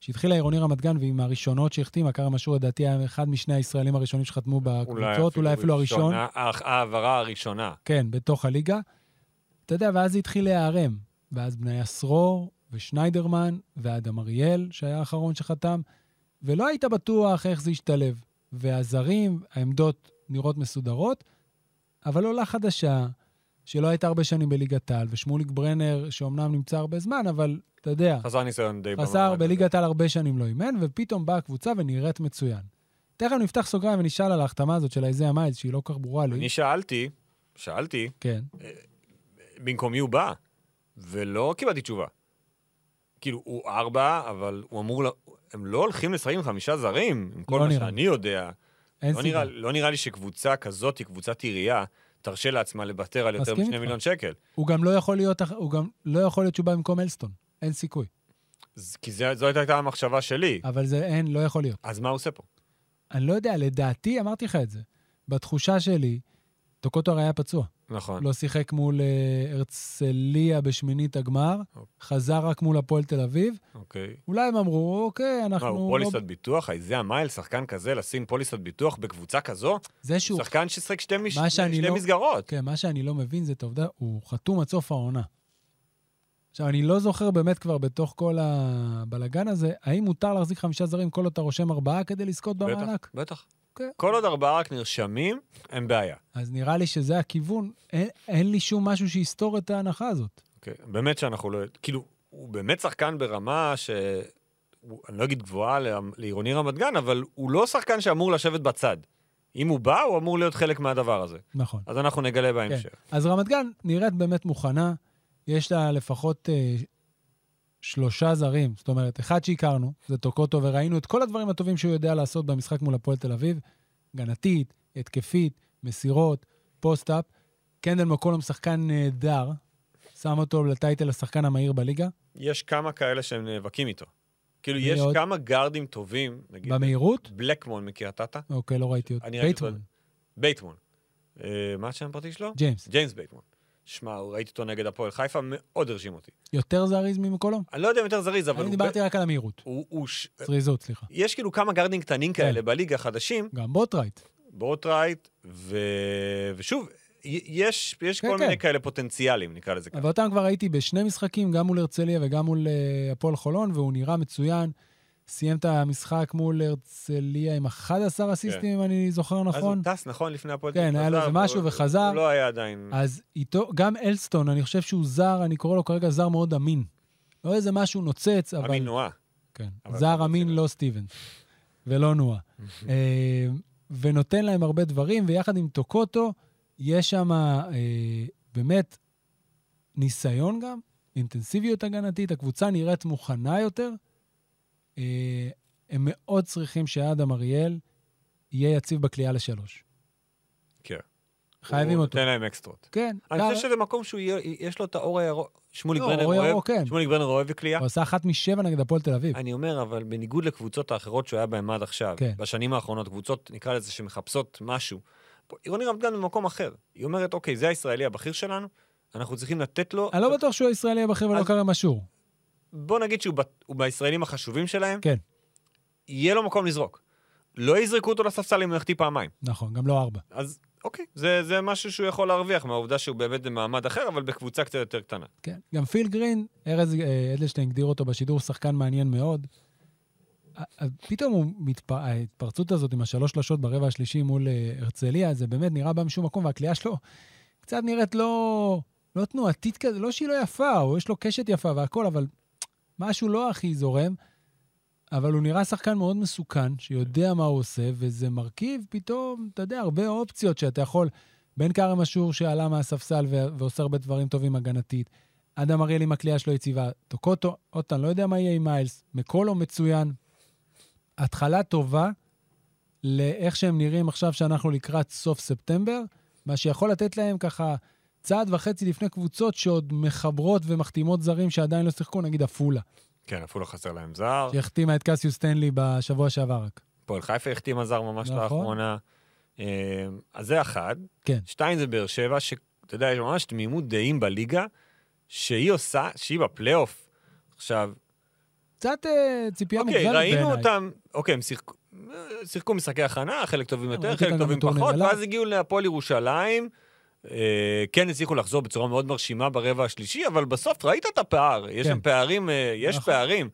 B: כשהתחיל העירוני רמת גן, והיא מהראשונות שהחתימה, כרם אשור לדעתי היה אחד משני הישראלים הראשונים שחתמו בקבוצות, אולי אפילו הראשון.
C: ראשונה, הח- ההעברה הראשונה.
B: כן, בתוך הליגה. אתה יודע, ואז זה התחיל להיערם. ואז בניה סרור, ושניידרמן, ואדם אריאל, שהיה האחרון שחתם, ולא היית בטוח איך זה ישתלב. והזרים, העמדות נראות מסודרות, אבל עולה חדשה, שלא הייתה הרבה שנים בליגת העל, ושמוליק ברנר, שאומנם נמצא הרבה זמן, אבל אתה יודע,
C: חסר ניסיון די במעמד
B: חסר
C: הזה.
B: בליגת העל הרבה שנים לא אימן, ופתאום באה הקבוצה ונראית מצוין. תכף נפתח סוגריים ונשאל על ההחתמה הזאת של איזיה מייז, שהיא לא כל כך ברורה לי.
C: אני שאלתי, שאלתי,
B: כן.
C: במקומי הוא בא, ולא קיבלתי תשובה. כאילו, הוא ארבע, אבל הוא אמור ל... הם לא הולכים לשחק עם חמישה זרים, עם כל
B: לא
C: מה
B: נראה.
C: שאני יודע.
B: אין
C: לא
B: סיבה.
C: נראה, לא נראה לי שקבוצה כזאת, היא קבוצת עירייה, תרשה לעצמה לוותר על יותר
B: מסכים
C: משני
B: איתך.
C: מיליון שקל.
B: הוא גם לא יכול להיות, אח- הוא גם לא יכול להיות שהוא בא במקום אלסטון. אין סיכוי.
C: ז- כי זה, זו הייתה המחשבה שלי.
B: אבל זה אין, לא יכול להיות.
C: אז מה הוא עושה פה?
B: אני לא יודע, לדעתי, אמרתי לך את זה. בתחושה שלי, טוקוטו הרי היה פצוע.
C: נכון.
B: לא שיחק מול אה, הרצליה בשמינית הגמר,
C: אוקיי.
B: חזר רק מול הפועל תל אביב.
C: אוקיי.
B: אולי הם אמרו, אוקיי,
C: מה,
B: אנחנו...
C: הוא
B: לא-
C: פוליסת ביטוח? אי, זה המייל, שחקן כזה, לשים פוליסת ביטוח בקבוצה כזו?
B: זה שהוא...
C: שחקן ששיחק שתי מש-
B: מה שאני
C: שתי
B: לא-
C: מסגרות.
B: כן, מה שאני לא מבין זה את העובדה, הוא חתום עד סוף העונה. עכשיו, אני לא זוכר באמת כבר בתוך כל הבלגן הזה, האם מותר להחזיק חמישה זרים כל עוד אתה רושם ארבעה כדי לזכות
C: בטח,
B: במענק?
C: בטח.
B: כן.
C: כל עוד ארבעה רק נרשמים, אין בעיה.
B: אז נראה לי שזה הכיוון. אין, אין לי שום משהו שיסתור את ההנחה הזאת.
C: אוקיי. באמת שאנחנו לא... כאילו, הוא באמת שחקן ברמה ש... הוא- אני לא אגיד גבוהה ל- לעירוני רמת גן, אבל הוא לא שחקן שאמור לשבת בצד. אם הוא בא, הוא אמור להיות חלק מהדבר הזה.
B: נכון.
C: אז אנחנו נגלה בהמשך.
B: אז רמת גן נראית באמת מוכנה, יש לה לפחות אה, שלושה זרים, זאת אומרת, אחד שהכרנו, זה טוקוטו, וראינו את כל הדברים הטובים שהוא יודע לעשות במשחק מול הפועל תל אביב, הגנתית, התקפית, מסירות, פוסט-אפ. קנדל מקולום שחקן נהדר, שם אותו לטייטל השחקן המהיר בליגה,
C: יש כמה כאלה שהם נאבקים איתו. כאילו, יש
B: מאוד.
C: כמה גארדים טובים, נגיד...
B: במהירות.
C: בלקמון מקריית אתא,
B: אוקיי, לא ראיתי אותו.
C: אני ראיתי אותו.
B: בייטמן,
C: בייטמון. אה, מה השם הפרטי שלו?
B: ג'יימס,
C: ג'יימס בייטמון. שמע, ראיתי אותו נגד הפועל חיפה, מאוד הרשים אותי.
B: יותר זריז ממקולום?
C: אני לא יודע אם יותר זריז, אבל
B: אני
C: הוא... אה.
B: דיברתי רק על המהירות.
C: הוא, הוא ש...
B: זריזות, סליחה.
C: יש כאילו כמה גארדים קטנים
B: כן.
C: כאלה בליגה חדשים,
B: גם בוטרייט.
C: ברוטרייט, ו... ושוב, י- יש, יש
B: כן,
C: כל
B: כן.
C: מיני כאלה פוטנציאלים, נקרא לזה ככה.
B: אבל אותם כבר ראיתי בשני משחקים, גם מול הרצליה וגם מול אה, הפועל חולון, והוא נראה מצוין. סיים את המשחק מול הרצליה עם 11 אסיסטים, אם אני זוכר
C: כן. אז הוא
B: נכון.
C: טס, נכון, לפני הפועל
B: כן,
C: תל אביב,
B: היה לו איזה
C: חזר,
B: משהו
C: הוא-
B: וחזר. אה,
C: הוא לא היה עדיין...
B: אז איתו, גם אלסטון, אני חושב שהוא זר, אני קורא לו כרגע זר מאוד אמין. לא איזה משהו נוצץ, אבל...
C: המינועה.
B: כן.
C: אבל-
B: זר אמין, לא סטיבן. ולא נועה. אה, ונותן להם הרבה דברים, ויחד עם טוקוטו, יש שם אה, באמת ניסיון גם, אינטנסיביות הגנתית, הקבוצה נראית מוכנה יותר. אה, הם מאוד צריכים שאדם אריאל יהיה יציב בכלייה לשלוש.
C: כן.
B: חייבים
C: הוא
B: אותו.
C: נותן להם אקסטרות.
B: כן.
C: אני
B: גם-
C: חושב שזה מקום שהוא יהיה, יש לו את האור הירוק. שמוליק
B: לא,
C: ברנר
B: אור
C: אוהב,
B: ירוק, כן.
C: שמוליק ברנר אוהב קליעה.
B: הוא עשה אחת משבע נגד הפועל תל אביב.
C: אני אומר, אבל בניגוד לקבוצות האחרות שהוא היה בהן עד עכשיו,
B: כן.
C: בשנים האחרונות, קבוצות, נקרא לזה, שמחפשות משהו, פה עירוני רמת גן במקום אחר. היא אומרת, אוקיי, זה הישראלי הבכיר שלנו, אנחנו צריכים לתת לו...
B: אני לא בטוח שהוא הישראלי הבכיר ולא
C: אז-
B: קרם אשור.
C: בוא נגיד שהוא ב- הוא בישראלים החשובים שלהם,
B: כן.
C: יהיה לו מקום לזרוק. לא יזרקו אותו לספסל אם הוא יחטיא פעמיים.
B: נכון, גם לא ארבע.
C: אז אוקיי, זה, זה משהו שהוא יכול להרוויח מהעובדה שהוא באמת במעמד אחר, אבל בקבוצה קצת יותר קטנה.
B: כן. גם פיל גרין, ארז אה, אדלשטיין הגדיר אותו בשידור, שחקן מעניין מאוד. ה- ה- פתאום הוא מתפ... ההתפרצות הזאת עם השלוש שלשות ברבע השלישי מול אה, הרצליה, זה באמת נראה בא משום מקום, והקליעה שלו קצת נראית לא, לא תנועתית כזה, לא שהיא לא יפה, או יש לו קשת יפה והכול, אבל משהו לא הכי זורם. אבל הוא נראה שחקן מאוד מסוכן, שיודע מה הוא עושה, וזה מרכיב פתאום, אתה יודע, הרבה אופציות שאתה יכול, בין כרם אשור שעלה מהספסל ו- ועושה הרבה דברים טובים הגנתית, אדם אריאל עם הקליעה שלו יציבה, טוקוטו, עוד פעם, לא יודע מה יהיה עם מיילס, מקולו מצוין. התחלה טובה לאיך שהם נראים עכשיו שאנחנו לקראת סוף ספטמבר, מה שיכול לתת להם ככה צעד וחצי לפני קבוצות שעוד מחברות ומחתימות זרים שעדיין לא שיחקו, נגיד עפולה,
C: כן, אפילו חסר להם זר.
B: כן. שהחתימה את קסיוס סטנלי בשבוע שעבר רק.
C: פועל חיפה החתימה זר ממש
B: נכון.
C: לאחרונה. אה, אז זה אחד.
B: כן.
C: שתיים זה באר שבע, שאתה יודע, יש ממש תמימות דעים בליגה, שהיא עושה, שהיא בפלייאוף. עכשיו,
B: קצת אה, ציפייה מוגזמת
C: אוקיי,
B: בעיניי.
C: ראינו אותם, אוקיי, הם שיחקו, שיחקו משחקי הכנה, חלק טובים יותר,
B: כן, ראיתי
C: חלק
B: אותם גם
C: טובים
B: בטורניר
C: פחות,
B: אילת.
C: ואז הגיעו להפועל ירושלים, אה, כן הצליחו לחזור בצורה מאוד מרשימה ברבע השלישי, אבל בסוף ראית את הפער, יש
B: כן.
C: שם פערים, אה, יש
B: נכון.
C: פערים.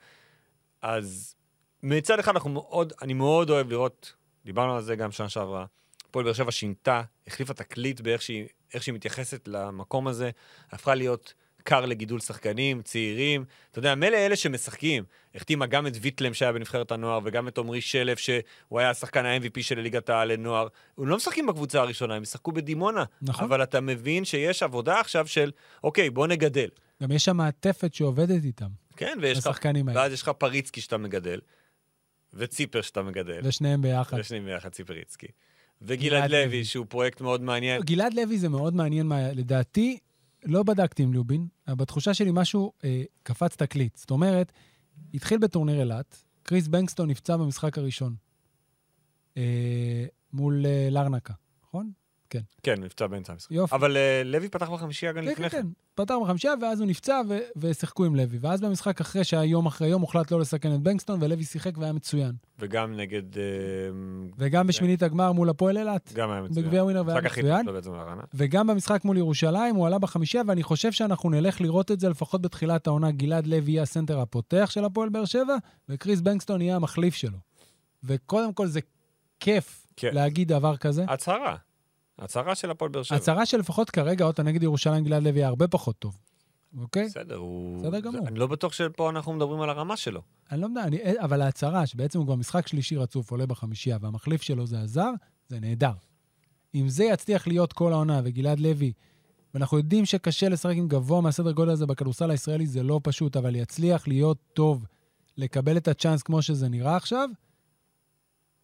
C: אז מצד אחד אנחנו מאוד, אני מאוד אוהב לראות, דיברנו על זה גם שנה שעברה, הפועל באר שבע שינתה, החליפה תקליט באיך שהיא, איך שהיא מתייחסת למקום הזה, הפכה להיות כר לגידול שחקנים, צעירים. אתה יודע, מילא אלה שמשחקים, החתימה גם את ויטלם שהיה בנבחרת הנוער, וגם את עמרי שלף, שהוא היה השחקן ה-MVP של ליגת העל לנוער. הם לא משחקים בקבוצה הראשונה, הם ישחקו בדימונה.
B: נכון.
C: אבל אתה מבין שיש עבודה עכשיו של, אוקיי, בוא נגדל.
B: גם יש שם מעטפת שעובדת איתם,
C: כן, ויש לך,
B: לשחקנים האלה.
C: ואז יש לך פריצקי שאתה מגדל, וציפר שאתה מגדל.
B: לשניהם ביחד.
C: ושניהם ביחד ציפריצקי. וגלעד לוי, שהוא פרויקט מאוד מעניין.
B: גלעד לוי זה מאוד מעניין, מה... לדעתי, לא בדקתי עם לובין, אבל בתחושה שלי משהו אה, קפץ תקליט. זאת אומרת, התחיל בטורניר אילת, קריס בנקסטון נפצע במשחק הראשון, אה, מול אה, לרנקה, נכון?
C: כן, מבצע באמצע המשחק.
B: יופי.
C: אבל אה, לוי פתח בחמישייה גם
B: כן, כן,
C: לפני כן.
B: כן. פתר בחמישה, ואז הוא נפצע, ו- ושיחקו עם לוי. ואז במשחק אחרי, שהיה יום אחרי יום, הוחלט לא לסכן את בנקסטון, ולוי שיחק והיה מצוין.
C: וגם נגד... אה,
B: וגם בשמינית הגמר מול הפועל אילת,
C: גם כן. היה מצוין.
B: בגביע ווינר והיה
C: המשחק הכי
B: מצוין.
C: טוב בעצם הרנה.
B: וגם במשחק מול ירושלים הוא עלה בחמישייה, ואני חושב שאנחנו נלך לראות את זה לפחות בתחילת העונה. גלעד לוי יהיה הסנטר הפותח של הפועל באר שבע, וקריס בנקסטון יהיה המחליף שלו. וקודם כל זה כיף
C: כן.
B: להגיד דבר כזה.
C: הצהרה. הצהרה של הפועל באר שבע.
B: הצהרה שלפחות כרגע, עוד נגד ירושלים, גלעד לוי היה הרבה פחות טוב, אוקיי?
C: בסדר, הוא...
B: בסדר גמור.
C: זה- אני לא בטוח שפה אנחנו מדברים על הרמה שלו.
B: אני לא יודע, אני- אבל ההצהרה, שבעצם הוא כבר משחק שלישי רצוף, עולה בחמישייה, והמחליף שלו זה הזר, זה נהדר. אם זה יצליח להיות כל העונה, וגלעד לוי, ואנחנו יודעים שקשה לשחק עם גבוה מהסדר גודל הזה בכדורסל הישראלי, זה לא פשוט, אבל יצליח להיות טוב, לקבל את הצ'אנס כמו שזה נראה עכשיו,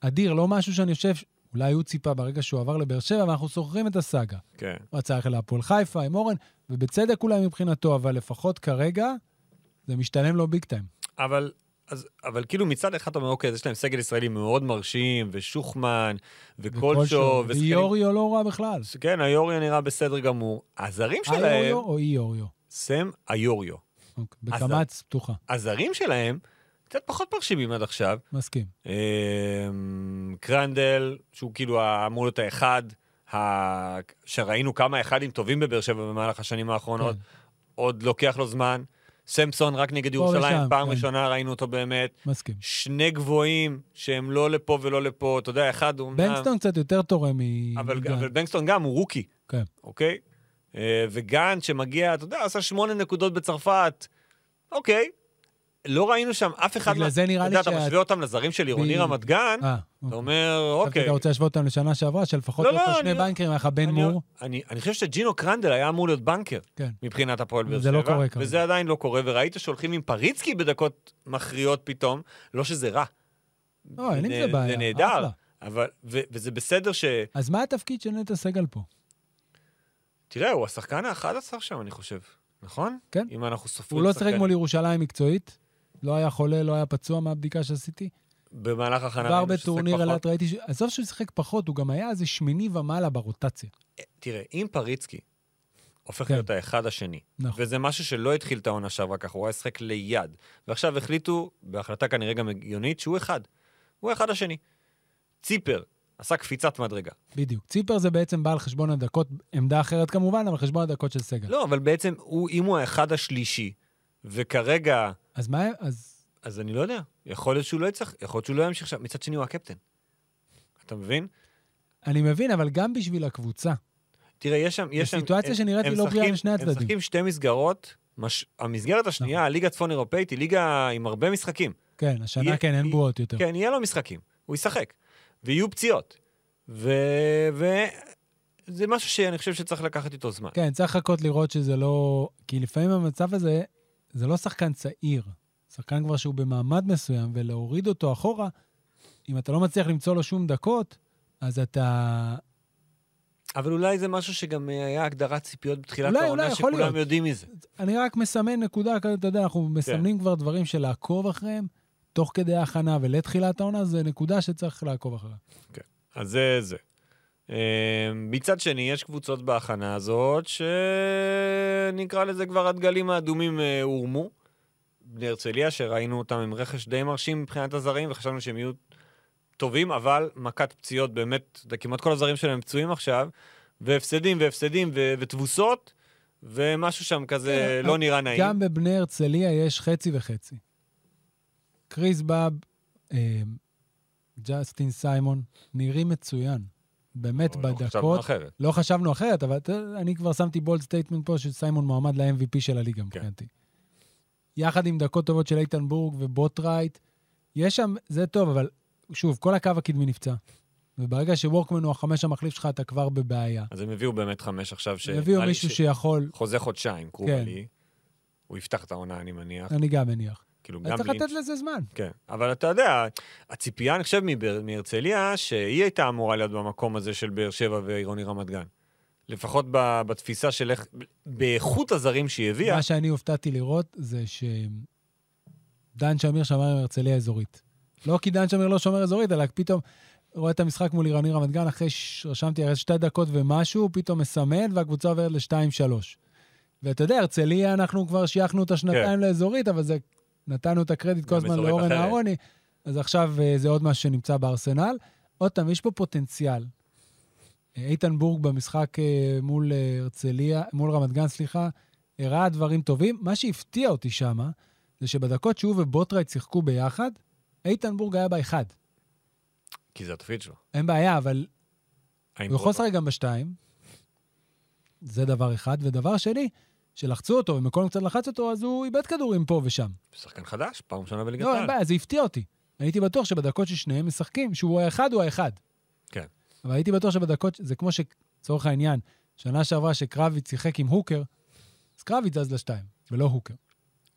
B: אדיר, לא משהו שאני חושב, ש- אולי הוא ציפה ברגע שהוא עבר לבאר שבע, ואנחנו זוכרים את הסאגה.
C: כן.
B: הוא רצה ללכת להפועל חיפה עם אורן, ובצדק אולי מבחינתו, אבל לפחות כרגע, זה משתלם לו ביג טיים.
C: אבל, אז, אבל כאילו מצד אחד אתה אומר, אוקיי, אז יש להם סגל ישראלי מאוד מרשים, ושוחמן, וקולשו,
B: ואיוריו לא רע בכלל.
C: כן, היוריו נראה בסדר גמור. הזרים שלהם,
B: איוריו או איוריו?
C: סם היוריו.
B: אוקיי,
C: אז-
B: בקמץ פתוחה,
C: הזרים שלהם קצת פחות מרשימים עד עכשיו.
B: מסכים.
C: אמ, קרנדל, שהוא כאילו ה- אמור להיות האחד, ה- שראינו כמה אחדים טובים בבאר שבע במהלך השנים האחרונות,
B: כן.
C: עוד לוקח לו זמן. סמסון רק נגד
B: פה ושם,
C: ירושלים, פעם
B: כן.
C: ראשונה ראינו אותו באמת.
B: מסכים.
C: שני גבוהים שהם לא לפה ולא לפה, אתה יודע, אחד הוא... אמנם-
B: בנקסטון קצת יותר תורם מ...
C: אבל,
B: מגן.
C: אבל בנקסטון גם הוא רוקי,
B: כן.
C: אוקיי? אה, וגן שמגיע, אתה יודע, עשה שמונה נקודות בצרפת, אוקיי. לא ראינו שם אף אחד...
B: בגלל
C: מה-
B: זה נראה לי
C: אתה יודע,
B: שה-
C: אתה משווה אותם לזרים של עירוני
B: ב-
C: רמת גן,
B: אה,
C: אתה
B: אוקיי.
C: אומר,
B: חשבתי
C: אוקיי.
B: אתה רוצה להשוות אותם לשנה שעברה, שלפחות
C: לא,
B: היו
C: לא,
B: לך
C: אני
B: שני
C: לא-
B: בנקרים, היה לך בן
C: אני-
B: מור.
C: אני אני חושב שג'ינו קרנדל היה אמור להיות בנקר
B: כן.
C: מבחינת הפועל
B: אבל
C: באר שבע.
B: זה לא קורה כרגע.
C: וזה עדיין לא קורה, וראית שהולכים עם פריצקי בדקות מכריעות פתאום, לא שזה רע.
B: לא, אין עם
C: נה-
B: זה בעיה.
C: זה נהדר,
B: אחלה.
C: אבל, ו- וזה בסדר ש...
B: אז מה התפקיד של נטע סגל פה?
C: תראה, הוא השחקן ה-11 שם, אני חושב, נכון?
B: כן.
C: אם אנחנו סופרים
B: הוא לא
C: שחקנים.
B: שיחק מול ירושלים מקצועית, לא היה חולה, לא היה פצוע מהבדיקה שעשיתי.
C: במהלך הכנה
B: כבר
C: ראינו שהוא שיחק
B: בטורניר
C: פחות.
B: אילת ראיתי, ש- עזוב שהוא שיחק פחות, הוא גם היה איזה שמיני ומעלה ברוטציה.
C: תראה, אם פריצקי הופך
B: כן.
C: להיות האחד השני,
B: נכון.
C: וזה משהו שלא התחיל את העונה שעברה ככה, הוא היה שחק ליד, ועכשיו החליטו, בהחלטה כנראה גם הגיונית, שהוא אחד. הוא האחד השני. ציפר עשה קפיצת מדרגה.
B: בדיוק. ציפר זה בעצם בא על חשבון הדקות, עמדה אחרת כמובן, אבל על חשבון הדקות של סגל.
C: לא, אבל בעצם, הוא, אם הוא האחד השלישי, וכרגע,
B: אז מה, אז...
C: אז אני לא יודע, יכול להיות שהוא לא יצטרך, יכול להיות שהוא לא ימשיך שם, מצד שני הוא הקפטן. אתה מבין?
B: אני מבין, אבל גם בשביל הקבוצה.
C: תראה, יש שם... יש שם-
B: בסיטואציה
C: הם-
B: שנראית לי
C: הם
B: לא בריאה
C: משחקים-
B: לשני הצדדים. נכון.
C: הם משחקים שתי מסגרות, מש... המסגרת השנייה, הליגה הצפון-אירופאית, היא ליגה עם הרבה משחקים.
B: כן, השנה
C: יהיה-
B: כן, אין
C: יהיה-
B: בועות יותר.
C: כן, יהיה לו משחקים, הוא ישחק. ויהיו פציעות. ו... ו... זה משהו שאני חושב שצריך לקחת איתו זמן.
B: כן, צריך לחכות לראות שזה לא... כי לפעמים המצב הזה, זה לא שחקן צעיר. שחקן כבר שהוא במעמד מסוים, ולהוריד אותו אחורה, אם אתה לא מצליח למצוא לו שום דקות, אז אתה...
C: אבל אולי זה משהו שגם אה, היה הגדרת ציפיות בתחילת
B: אולי,
C: העונה,
B: אולי, יכול
C: שכולם
B: להיות.
C: יודעים מזה.
B: אני רק מסמן נקודה כזאת, אתה יודע,
C: כן.
B: אנחנו מסמנים כבר דברים של לעקוב אחריהם, תוך כדי ההכנה ולתחילת העונה, זה נקודה שצריך לעקוב אחריה.
C: אז זה זה. אה, מצד שני, יש קבוצות בהכנה הזאת, שנקרא לזה כבר הדגלים האדומים אה, הורמו. בני הרצליה, שראינו אותם עם רכש די מרשים מבחינת הזרים, וחשבנו שהם יהיו טובים, אבל מכת פציעות באמת, זה כמעט כל הזרים שלהם פצועים עכשיו, והפסדים והפסדים ו- ותבוסות, ומשהו שם כזה
B: כן,
C: לא נראה נעים.
B: גם בבני הרצליה יש חצי וחצי. קריס באב, אה, ג'סטין סיימון, נראים מצוין. באמת,
C: או, לא, חשבנו
B: בדקות...
C: אחרת.
B: לא חשבנו אחרת, אבל אתה יודע, אני כבר שמתי בולד סטייטמנט פה שסיימון מועמד ל-MVP של הליגה
C: כן.
B: מבחינתי. יחד עם דקות טובות של איתן בורג ובוטרייט, יש שם, זה טוב, אבל שוב, כל הקו הקדמי נפצע. וברגע שוורקמן הוא החמש המחליף שלך, אתה כבר בבעיה.
C: אז הם הביאו באמת חמש עכשיו, ש...
B: הביאו
C: נראה לי
B: מישהו
C: ש-
B: שיכול,
C: חוזה חודשיים,
B: כן.
C: קרובלי. הוא יפתח את העונה, אני מניח.
B: אני גם מניח.
C: כאילו,
B: אז
C: אה. גם
B: צריך
C: לינץ'.
B: לתת לזה זמן.
C: כן, אבל אתה יודע, הציפייה, אני חושב, מבאר- מהרצליה, שהיא הייתה אמורה להיות במקום הזה של באר שבע ועירוני רמת גן. לפחות ב- בתפיסה של איך... באיכות הזרים שהיא הביאה.
B: מה שאני הופתעתי לראות זה שדן שמיר שמר עם הרצליה אזורית. לא כי דן שמיר לא שומר אזורית, אלא פתאום רואה את המשחק מול עירוני רמת גן, אחרי שרשמתי הרי שתי דקות ומשהו, הוא פתאום מסמן והקבוצה עוברת ל-2-3. ואתה יודע, הרצליה, אנחנו כבר שייכנו את השנתיים לאזורית, אבל זה, נתנו את הקרדיט כל
C: גם
B: הזמן
C: אזורית
B: לאורן
C: אחרת.
B: אהרוני, אז עכשיו אה, זה עוד משהו שנמצא בארסנל. עוד פעם, יש פה פוטנציאל. אה, איתן בורג במשחק אה, מול אה, הרצליה, מול רמת גן, סליחה, הראה דברים טובים. מה שהפתיע אותי שמה, זה שבדקות שהוא ובוטרייט שיחקו ביחד, איתן בורג היה באחד.
C: כי זה התפקיד שלו.
B: אין בעיה, אבל
C: האם
B: הוא יכול
C: פרוטו-
B: לשחק גם בשתיים. זה דבר אחד. ודבר שני, שלחצו אותו, ומקום קצת לחץ אותו, אז הוא איבד כדורים פה ושם.
C: שחקן חדש, פעם ראשונה בליגת
B: לא, אין
C: העל.
B: בעיה, זה הפתיע אותי. הייתי בטוח שבדקות ששניהם משחקים, שהוא האחד, הוא האחד.
C: כן.
B: אבל הייתי בטוח שבדקות, זה כמו שלצורך העניין, שנה שעברה שקרביץ שיחק עם הוקר, אז קרביץ זז לשתיים, ולא הוקר.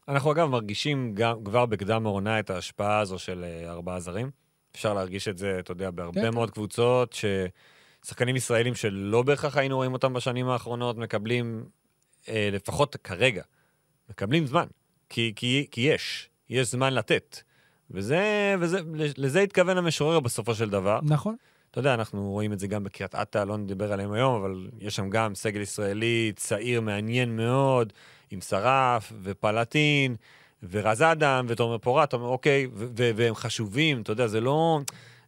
C: אנחנו אגב מרגישים גם, כבר בקדם העונה את ההשפעה הזו של אה, ארבעה זרים. אפשר להרגיש את זה, אתה יודע, בהרבה
B: כן.
C: מאוד קבוצות, ששחקנים ישראלים שלא בהכרח היינו רואים אותם בשנים האחרונות, מקבלים, אה, לפחות כרגע, מקבלים זמן. כי, כי, כי יש, יש זמן לתת. וזה, וזה, לזה התכוון המשורר בסופו של דבר.
B: נכון.
C: אתה יודע, אנחנו רואים את זה גם בקריית אתא, לא נדבר עליהם היום, אבל יש שם גם סגל ישראלי צעיר, מעניין מאוד, עם שרף ופלטין ורז אדם ותומר פורט, אתה אומר, אוקיי, ו- ו- והם חשובים, אתה יודע, זה לא,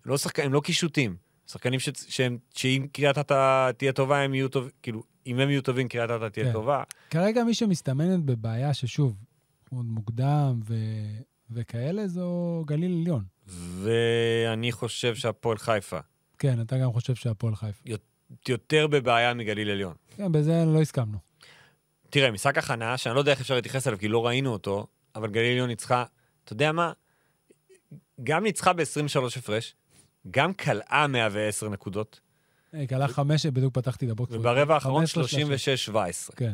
C: לא שחקנים, הם לא קישוטים. שחקנים ש- שהם, שאם קריית אתא תהיה טובה, הם יהיו טובים, כאילו, אם הם יהיו טובים, קריית אתא תהיה
B: כן.
C: טובה.
B: כרגע מי שמסתמנת בבעיה ששוב, עוד מוקדם ו... וכאלה, זו גליל עליון.
C: ואני חושב שהפועל חיפה
B: כן, אתה גם חושב שהפועל חיפה.
C: יותר בבעיה מגליל עליון.
B: כן, בזה לא הסכמנו.
C: תראה, משחק הכנה, שאני לא יודע איך אפשר להתייחס אליו, כי לא ראינו אותו, אבל גליל עליון ניצחה, אתה יודע מה? גם ניצחה ב-23 הפרש, גם כלאה 110 נקודות,
B: אה, קלה חמש, בדיוק פתחתי את הבוקר.
C: וברבע האחרון
B: 15 שלושים.
C: 36-17.
B: כן.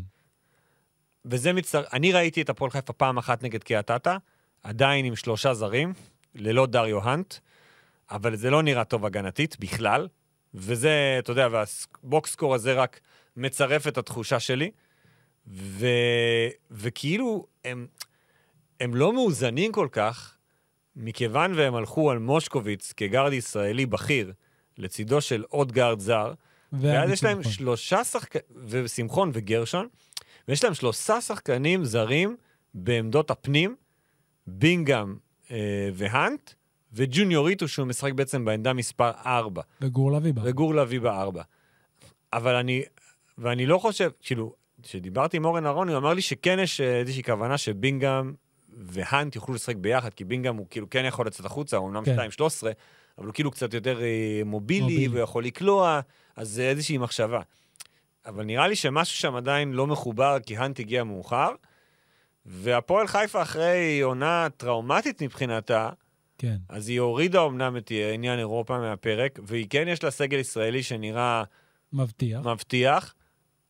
C: וזה מצטר... אני ראיתי את הפועל חיפה פעם אחת נגד קריית אתא, עדיין עם שלושה זרים, ללא דריו האנט, אבל זה לא נראה טוב הגנתית בכלל, וזה, אתה יודע, והבוקסקור הזה רק מצרף את התחושה שלי, ו... וכאילו, הם... הם לא מאוזנים כל כך, מכיוון והם הלכו על מושקוביץ כגארד ישראלי בכיר, לצידו של עוד גארד זר, ואז יש להם
B: והביטחון.
C: שלושה שחקנים, ושמחון וגרשון, ויש להם שלושה שחקנים זרים בעמדות הפנים, בינגאם אה, והאנט, וג'וניוריטו, שהוא משחק בעצם בעמדה מספר 4,
B: וגור לביא בא.
C: וגור לביא בארבע. אבל אני, ואני לא חושב, כאילו, כשדיברתי עם אורן אהרוני, הוא אמר לי שכן יש אה, איזושהי כוונה שבינגאם והאנט יוכלו לשחק ביחד, כי בינגאם הוא כאילו כן יכול לצאת החוצה, הוא אמנם
B: כן.
C: 2-13, אבל הוא כאילו קצת יותר אה, מובילי,
B: מובילי.
C: והוא יכול לקלוע, אז זה איזושהי מחשבה. אבל נראה לי שמשהו שם עדיין לא מחובר, כי האנט הגיע מאוחר, והפועל חיפה אחרי עונה טראומטית מבחינתה,
B: כן.
C: אז היא הורידה אמנם את עניין אירופה מהפרק, והיא כן יש לה סגל ישראלי שנראה
B: מבטיח.
C: מבטיח,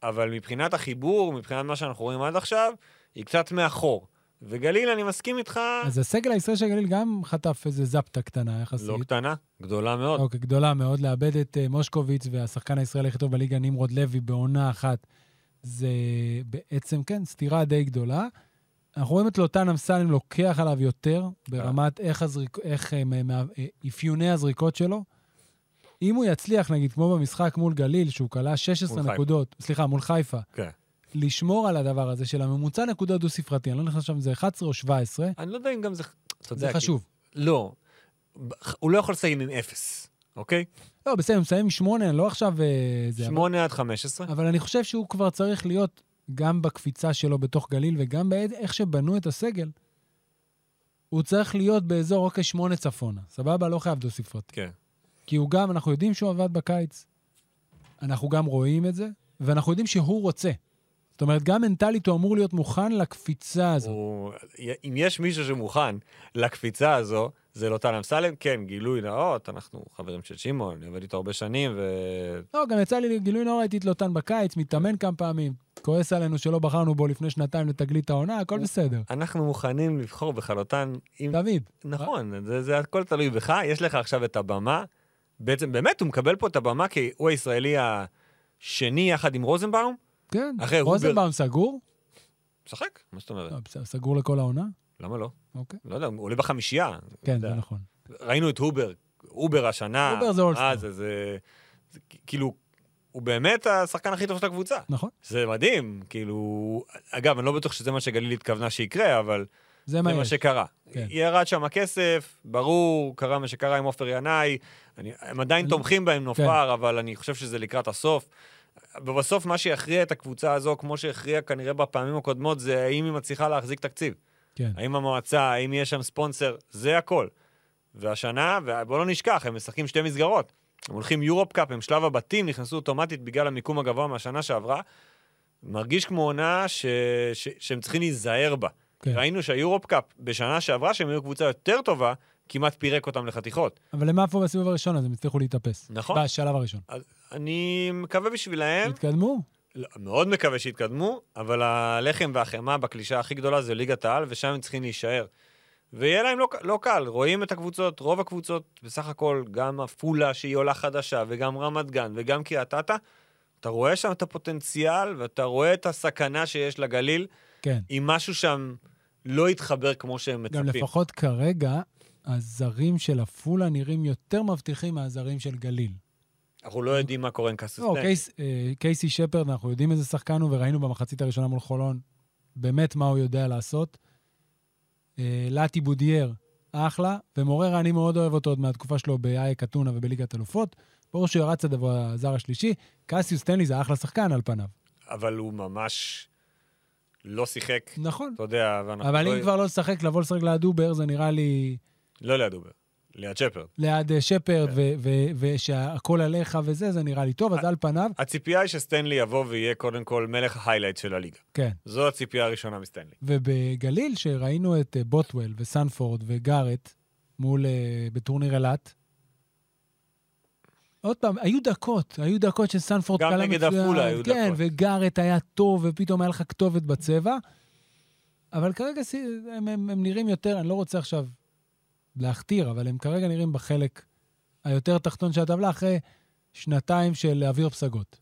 C: אבל מבחינת החיבור, מבחינת מה שאנחנו רואים עד עכשיו, היא קצת מאחור. וגליל, אני מסכים איתך,
B: אז הסגל הישראלי של הגליל גם חטף איזה זפטה קטנה יחסית.
C: לא קטנה, גדולה מאוד.
B: אוקיי, גדולה מאוד. לאבד את אה, מושקוביץ והשחקן הישראלי הכי טוב בליגה, נמרוד לוי, בעונה אחת, זה בעצם, כן, סתירה די גדולה. אנחנו רואים את לוטן אמסלם לוקח עליו יותר, ברמת איך, הזריק... איך אה, מה... אה, אפיוני הזריקות אה, שלו. אם הוא יצליח, נגיד, כמו במשחק מול גליל, שהוא כלה 16
C: מול חיפה.
B: נקודות, סליחה, מול חיפה,
C: כן.
B: לשמור על הדבר הזה של הממוצע נקודות דו-ספרתי, אני לא נכנס שם אם זה 11 או 17,
C: אני לא יודע אם גם זה... אתה יודע,
B: זה
C: כי-
B: חשוב.
C: לא. ב- הוא לא יכול לסיים עם אפס, אוקיי?
B: לא, בסדר, הוא מסיים עם 8, לא עכשיו... אה, זה, אה. אבל-
C: שמונה עד חמש עשרה.
B: אבל אני חושב שהוא כבר צריך להיות גם בקפיצה שלו בתוך גליל וגם באיך שבנו את הסגל. הוא צריך להיות באזור אוקיי שמונה צפונה, סבבה? לא חייב דו-ספרתי.
C: כן.
B: כי הוא גם, אנחנו יודעים שהוא עבד בקיץ, אנחנו גם רואים את זה, ואנחנו יודעים שהוא רוצה. זאת אומרת, גם מנטלית הוא אמור להיות מוכן לקפיצה הזאת.
C: הוא... אם יש מישהו שמוכן לקפיצה הזו, זה לא טל אמסלם. כן, גילוי נאות, אנחנו חברים של שמעון, אני עובד איתו הרבה שנים, ו...
B: לא, גם יצא לי גילוי נורא, הייתי תלוטן בקיץ, מתאמן כמה פעמים, כועס עלינו שלא בחרנו בו לפני שנתיים לתגלית העונה, הכל בסדר.
C: אנחנו מוכנים לבחור בחלוטן עם...
B: תמיד.
C: נכון, זה, זה הכל תלוי בך, יש לך עכשיו את הבמה. בעצם, באמת, הוא מקבל פה את הבמה כי הוא הישראלי השני יחד עם רוזנבאום.
B: כן.
C: אחרי רוברט-
B: רוזנבאום סגור?
C: משחק, מה זאת אומרת?
B: לא, בסדר, סגור לכל העונה?
C: למה לא?
B: אוקיי.
C: לא יודע, הוא עולה בחמישייה.
B: כן,
C: יודע.
B: זה נכון.
C: ראינו את הובר, הובר השנה.
B: הובר זה אולסטאר.
C: אה, זה, זה, זה כ- כאילו, הוא באמת השחקן הכי טוב של הקבוצה.
B: נכון.
C: זה מדהים, כאילו... אגב, אני לא בטוח שזה מה שגליל התכוונה שיקרה, אבל
B: זה
C: זה
B: מה
C: מה
B: יש.
C: שקרה.
B: כן.
C: ירד שם הכסף, ברור, קרה מה שקרה עם עופר ינאי, אני- הם עדיין
B: אל-
C: תומכים בהם נופר, אבל אני חושב שזה לקראת הסוף. ובסוף מה שיכריע את הקבוצה הזו, כמו שהכריע כנראה בפעמים הקודמות, זה האם היא מצליחה להחזיק תקציב.
B: כן.
C: האם המועצה, האם יש שם ספונסר, זה הכל. והשנה, ובואו לא נשכח, הם משחקים שתי מסגרות. הם הולכים יורופ קאפ, הם שלב הבתים, נכנסו אוטומטית בגלל המיקום הגבוה מהשנה שעברה. מרגיש כמו עונה ש... ש... שהם צריכים להיזהר בה.
B: כן.
C: כן. ראינו שהיורופ קאפ בשנה שעברה, שהם היו קבוצה יותר טובה, כמעט פירק אותם לחתיכות.
B: אבל הם עפו בסיבוב הראשון, אז הם הצליחו להתאפס.
C: נכון. כן.
B: בשלב הראשון.
C: אני מקווה בשבילהם,
B: התקדמו?
C: לא, מאוד מקווה שיתקדמו, אבל הלחם והחמאה בקלישה הכי גדולה זה ליגת העל, ושם הם צריכים להישאר. ויהיה להם לא, ק- לא קל, רואים את הקבוצות, רוב הקבוצות, בסך הכל, גם עפולה שהיא עולה חדשה, וגם רמת גן, וגם קריית אתא, אתה רואה שם את הפוטנציאל, ואתה רואה את הסכנה שיש לגליל,
B: כן.
C: אם משהו שם לא יתחבר כמו שהם מצפים.
B: גם לפחות כרגע, הזרים של עפולה נראים יותר מבטיחים מהזרים של גליל.
C: אנחנו לא יודעים מה קורה עם קאסס
B: לא, קייס- אה, קייסי שפרד, אנחנו יודעים איזה שחקן הוא, וראינו במחצית הראשונה מול חולון באמת מה הוא יודע לעשות. אה, לאטי בודיאר, אחלה, ומוררה, אני מאוד אוהב אותו עוד מהתקופה שלו באייק אתונה ובליגת אלופות. ברור שהוא ירד צדו הזר השלישי. קסיוס סטנלי זה אחלה שחקן על פניו.
C: אבל הוא ממש לא שיחק,
B: נכון.
C: אתה יודע, ואנחנו
B: אבל
C: לא...
B: אם כבר לא לשחק, לבוא לשחק ליד אובר, זה נראה לי
C: לא ליד אובר, ליד שפרד.
B: ליד אה, שפרד,
C: כן. אה,
B: ו- ו- ושהכול עליך וזה, זה נראה לי טוב, אז על פניו,
C: הציפייה היא שסטנלי יבוא ויהיה קודם כל מלך ההיילייט של הליגה.
B: כן.
C: זו הציפייה הראשונה מסטנלי.
B: ובגליל, שראינו את אה, בוטוול וסנפורד וגארט מול, אה, בטורניר אילת, עוד פעם, היו דקות, היו דקות שסנפורד
C: גם נגד עפולה היו
B: כן,
C: דקות.
B: וגארט היה טוב, ופתאום היה לך כתובת בצבע, אבל כרגע סי- הם, הם, הם נראים יותר, אני לא רוצה עכשיו להכתיר, אבל הם כרגע נראים בחלק היותר תחתון של הטבלה, אחרי שנתיים של אוויר פסגות.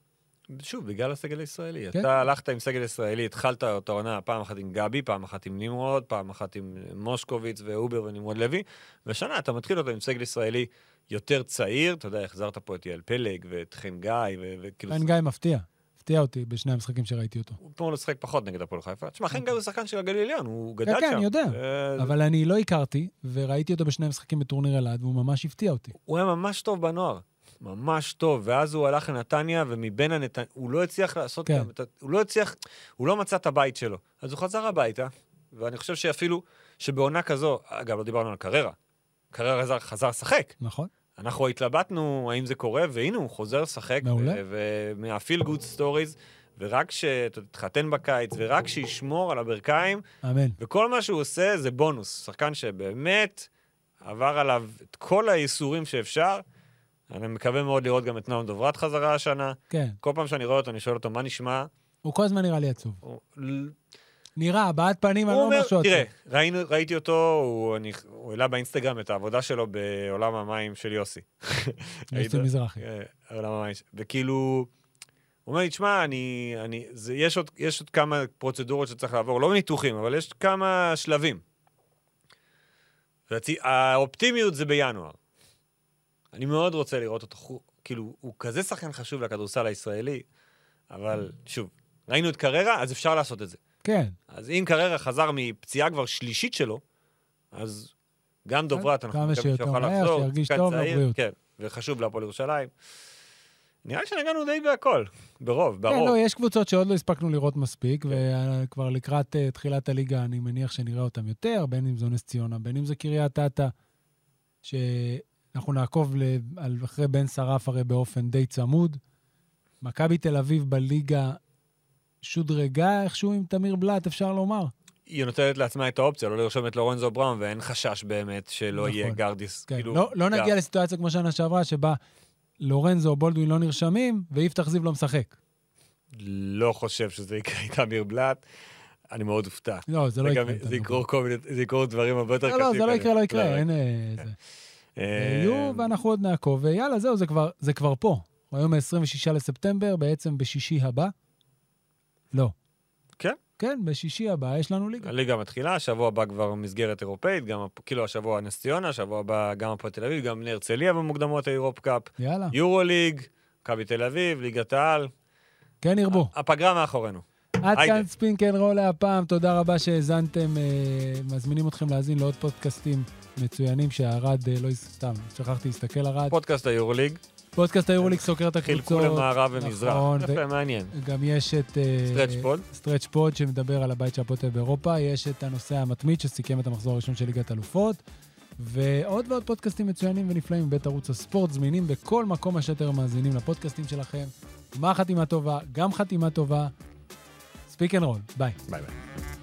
C: שוב, בגלל הסגל הישראלי.
B: כן.
C: אתה הלכת עם סגל ישראלי, התחלת את העונה פעם אחת עם גבי, פעם אחת עם נמרוד, פעם אחת עם מושקוביץ ואובר ונמרוד לוי, ושנה אתה מתחיל אותו עם סגל ישראלי יותר צעיר, אתה יודע, החזרת פה את יעל פלג ואת חן גיא, ו- וכאילו...
B: חן גיא מפתיע, הפתיע אותי בשני המשחקים שראיתי אותו.
C: הוא אתמול לשחק פחות נגד הפועל חיפה. תשמע, חן גיא הוא שחקן של הגליל עליון, הוא גדל
B: כן,
C: שם.
B: כן, אני יודע.
C: אה,
B: אבל אני לא הכרתי, וראיתי אותו בשני משחקים בטורניר אלעד, והוא ממש הפתיע אותי.
C: הוא היה ממש טוב בנוער. ממש טוב, ואז הוא הלך לנתניה, ומבין הנתניה, הוא לא הצליח לעשות,
B: כן.
C: כן. את... ה- הוא לא הצליח, הוא לא מצא את הבית שלו. אז הוא חזר הביתה, ואני חושב שאפילו שבעונה כזו, אגב, לא דיברנו על קררה, קררה חזר, חזר לשחק.
B: נכון?
C: אנחנו התלבטנו האם זה קורה, והנה הוא חוזר לשחק.
B: מעולה.
C: ומהפיל גוד סטוריז, ורק שתתחתן בקיץ, ורק שישמור על הברכיים,
B: אמן.
C: וכל מה שהוא עושה זה בונוס. שחקן שבאמת עבר עליו את כל האיסורים שאפשר. אני מקווה מאוד לראות גם את נועם דוברת חזרה השנה.
B: כן.
C: כל פעם שאני רואה אותו, אני שואל אותו, מה נשמע?
B: הוא כל הזמן נראה לי עצוב.
C: הוא ל-
B: נראה, הבעת פנים,
C: הוא
B: אני לא אומר שהוא עצוב.
C: תראה, ראינו, ראיתי אותו, הוא, אני, הוא העלה באינסטגרם את העבודה שלו בעולם המים של יוסי. ראית?
B: יוסי מזרחי.
C: אה, העולם המים. ש- וכאילו, הוא אומר לי, תשמע, אני, אני, זה, יש, עוד, יש עוד כמה פרוצדורות שצריך לעבור, לא ניתוחים, אבל יש כמה שלבים. והצי, האופטימיות זה בינואר. אני מאוד רוצה לראות אותו, חו- כאילו, הוא כזה שחקן חשוב לכדורסל הישראלי, אבל שוב, ראינו את קררה, אז אפשר לעשות את זה.
B: כן.
C: אז אם קררה חזר מפציעה כבר שלישית שלו, אז גם דוברת, אנחנו
B: כן, כמה
C: מקווים
B: שיותר
C: שיוכל
B: מהר,
C: לחזור.
B: שירגיש
C: שחקן
B: טוב
C: צעיר,
B: לבריאות.
C: כן, וחשוב להפועל ירושלים. נראה לי שנגענו די בהכל, ברוב,
B: כן,
C: ברוב.
B: לא, יש קבוצות שעוד לא הספקנו לראות מספיק, וכבר לקראת אה, תחילת הליגה אני מניח שנראה אותן יותר, בין אם זו נס ציונה, בין אם זה קריית אתא, שאנחנו נעקוב ל- על- אחרי בן שרף הרי באופן די צמוד. מכבי תל אביב בליגה שודרגה איכשהו עם תמיר בלאט, אפשר לומר.
C: היא נותנת לעצמה את האופציה לא לרשום את לורנזו בראון, ואין חשש באמת שלא יהיה
B: נכון.
C: גרדיס.
B: כן,
C: כאילו,
B: לא, לא
C: גר-
B: נגיע לסיטואציה כמו שנה שעברה, שבה לורנזו או בולדווין לא נרשמים, ויפתח זיו לא משחק.
C: לא חושב שזה יקרה עם תמיר בלאט. אני מאוד אופתע.
B: לא, זה לא
C: זה
B: יקרה.
C: גם-
B: יותר
C: זה
B: נכון.
C: יקרו כל מיני, זה יקרו דברים הרבה יותר
B: לא,
C: קשים.
B: לא, זה לא
C: כאלה.
B: יקרה, לא יקרה,
C: לא,
B: אין אה, זה.
C: אה,
B: יהיו, ואנחנו עוד נעקוב, ויאללה, זהו, זה כבר, זה כבר פה. היום ה-26 לספטמבר, בעצם בשישי הבא. לא.
C: כן.
B: כן, בשישי הבא יש לנו ליגה.
C: הליגה מתחילה, השבוע הבא כבר מסגרת אירופאית, גם, הפ- כאילו השבוע נס ציונה, השבוע הבא גם הפועל תל אביב, גם בני הרצליה במוקדמות האירופ קאפ,
B: יאללה,
C: יורו ליג, מכבי תל אביב, ליגת העל.
B: כן ירבו.
C: הפגרה מאחורינו.
B: עד
C: היידה.
B: כאן ספין קן רול להפעם, תודה רבה שהאזנתם, אה, מזמינים אתכם להאזין לעוד פודקאסטים מצוינים שהערד, אה, לא, הז- סתם, שכחתי להסתכל ערד.
C: פודקאסט היורו ליג,
B: פודקאסט היורליק סוקר את
C: חילקו
B: הקבוצות.
C: למערב ומזרח.
B: נכון, ו-
C: יפה, מעניין.
B: גם יש את... אה,
C: סטרץ' פוד.
B: סטרץ' פוד שמדבר על הבית של הפועל תל אביב באירופה, יש את הנושא המתמיד שסיכם את המחזור הראשון של ליגת אלופות, ועוד ועוד פודקאסטים מצוינים ונפלאים מבית ערוץ הספורט, זמינים בכל מקום אשר מאזינים לפודקאסטים שלכם. גמר חתימה טובה, גם חתימה טובה. ספיק אנד רול, ביי.
C: ביי ביי.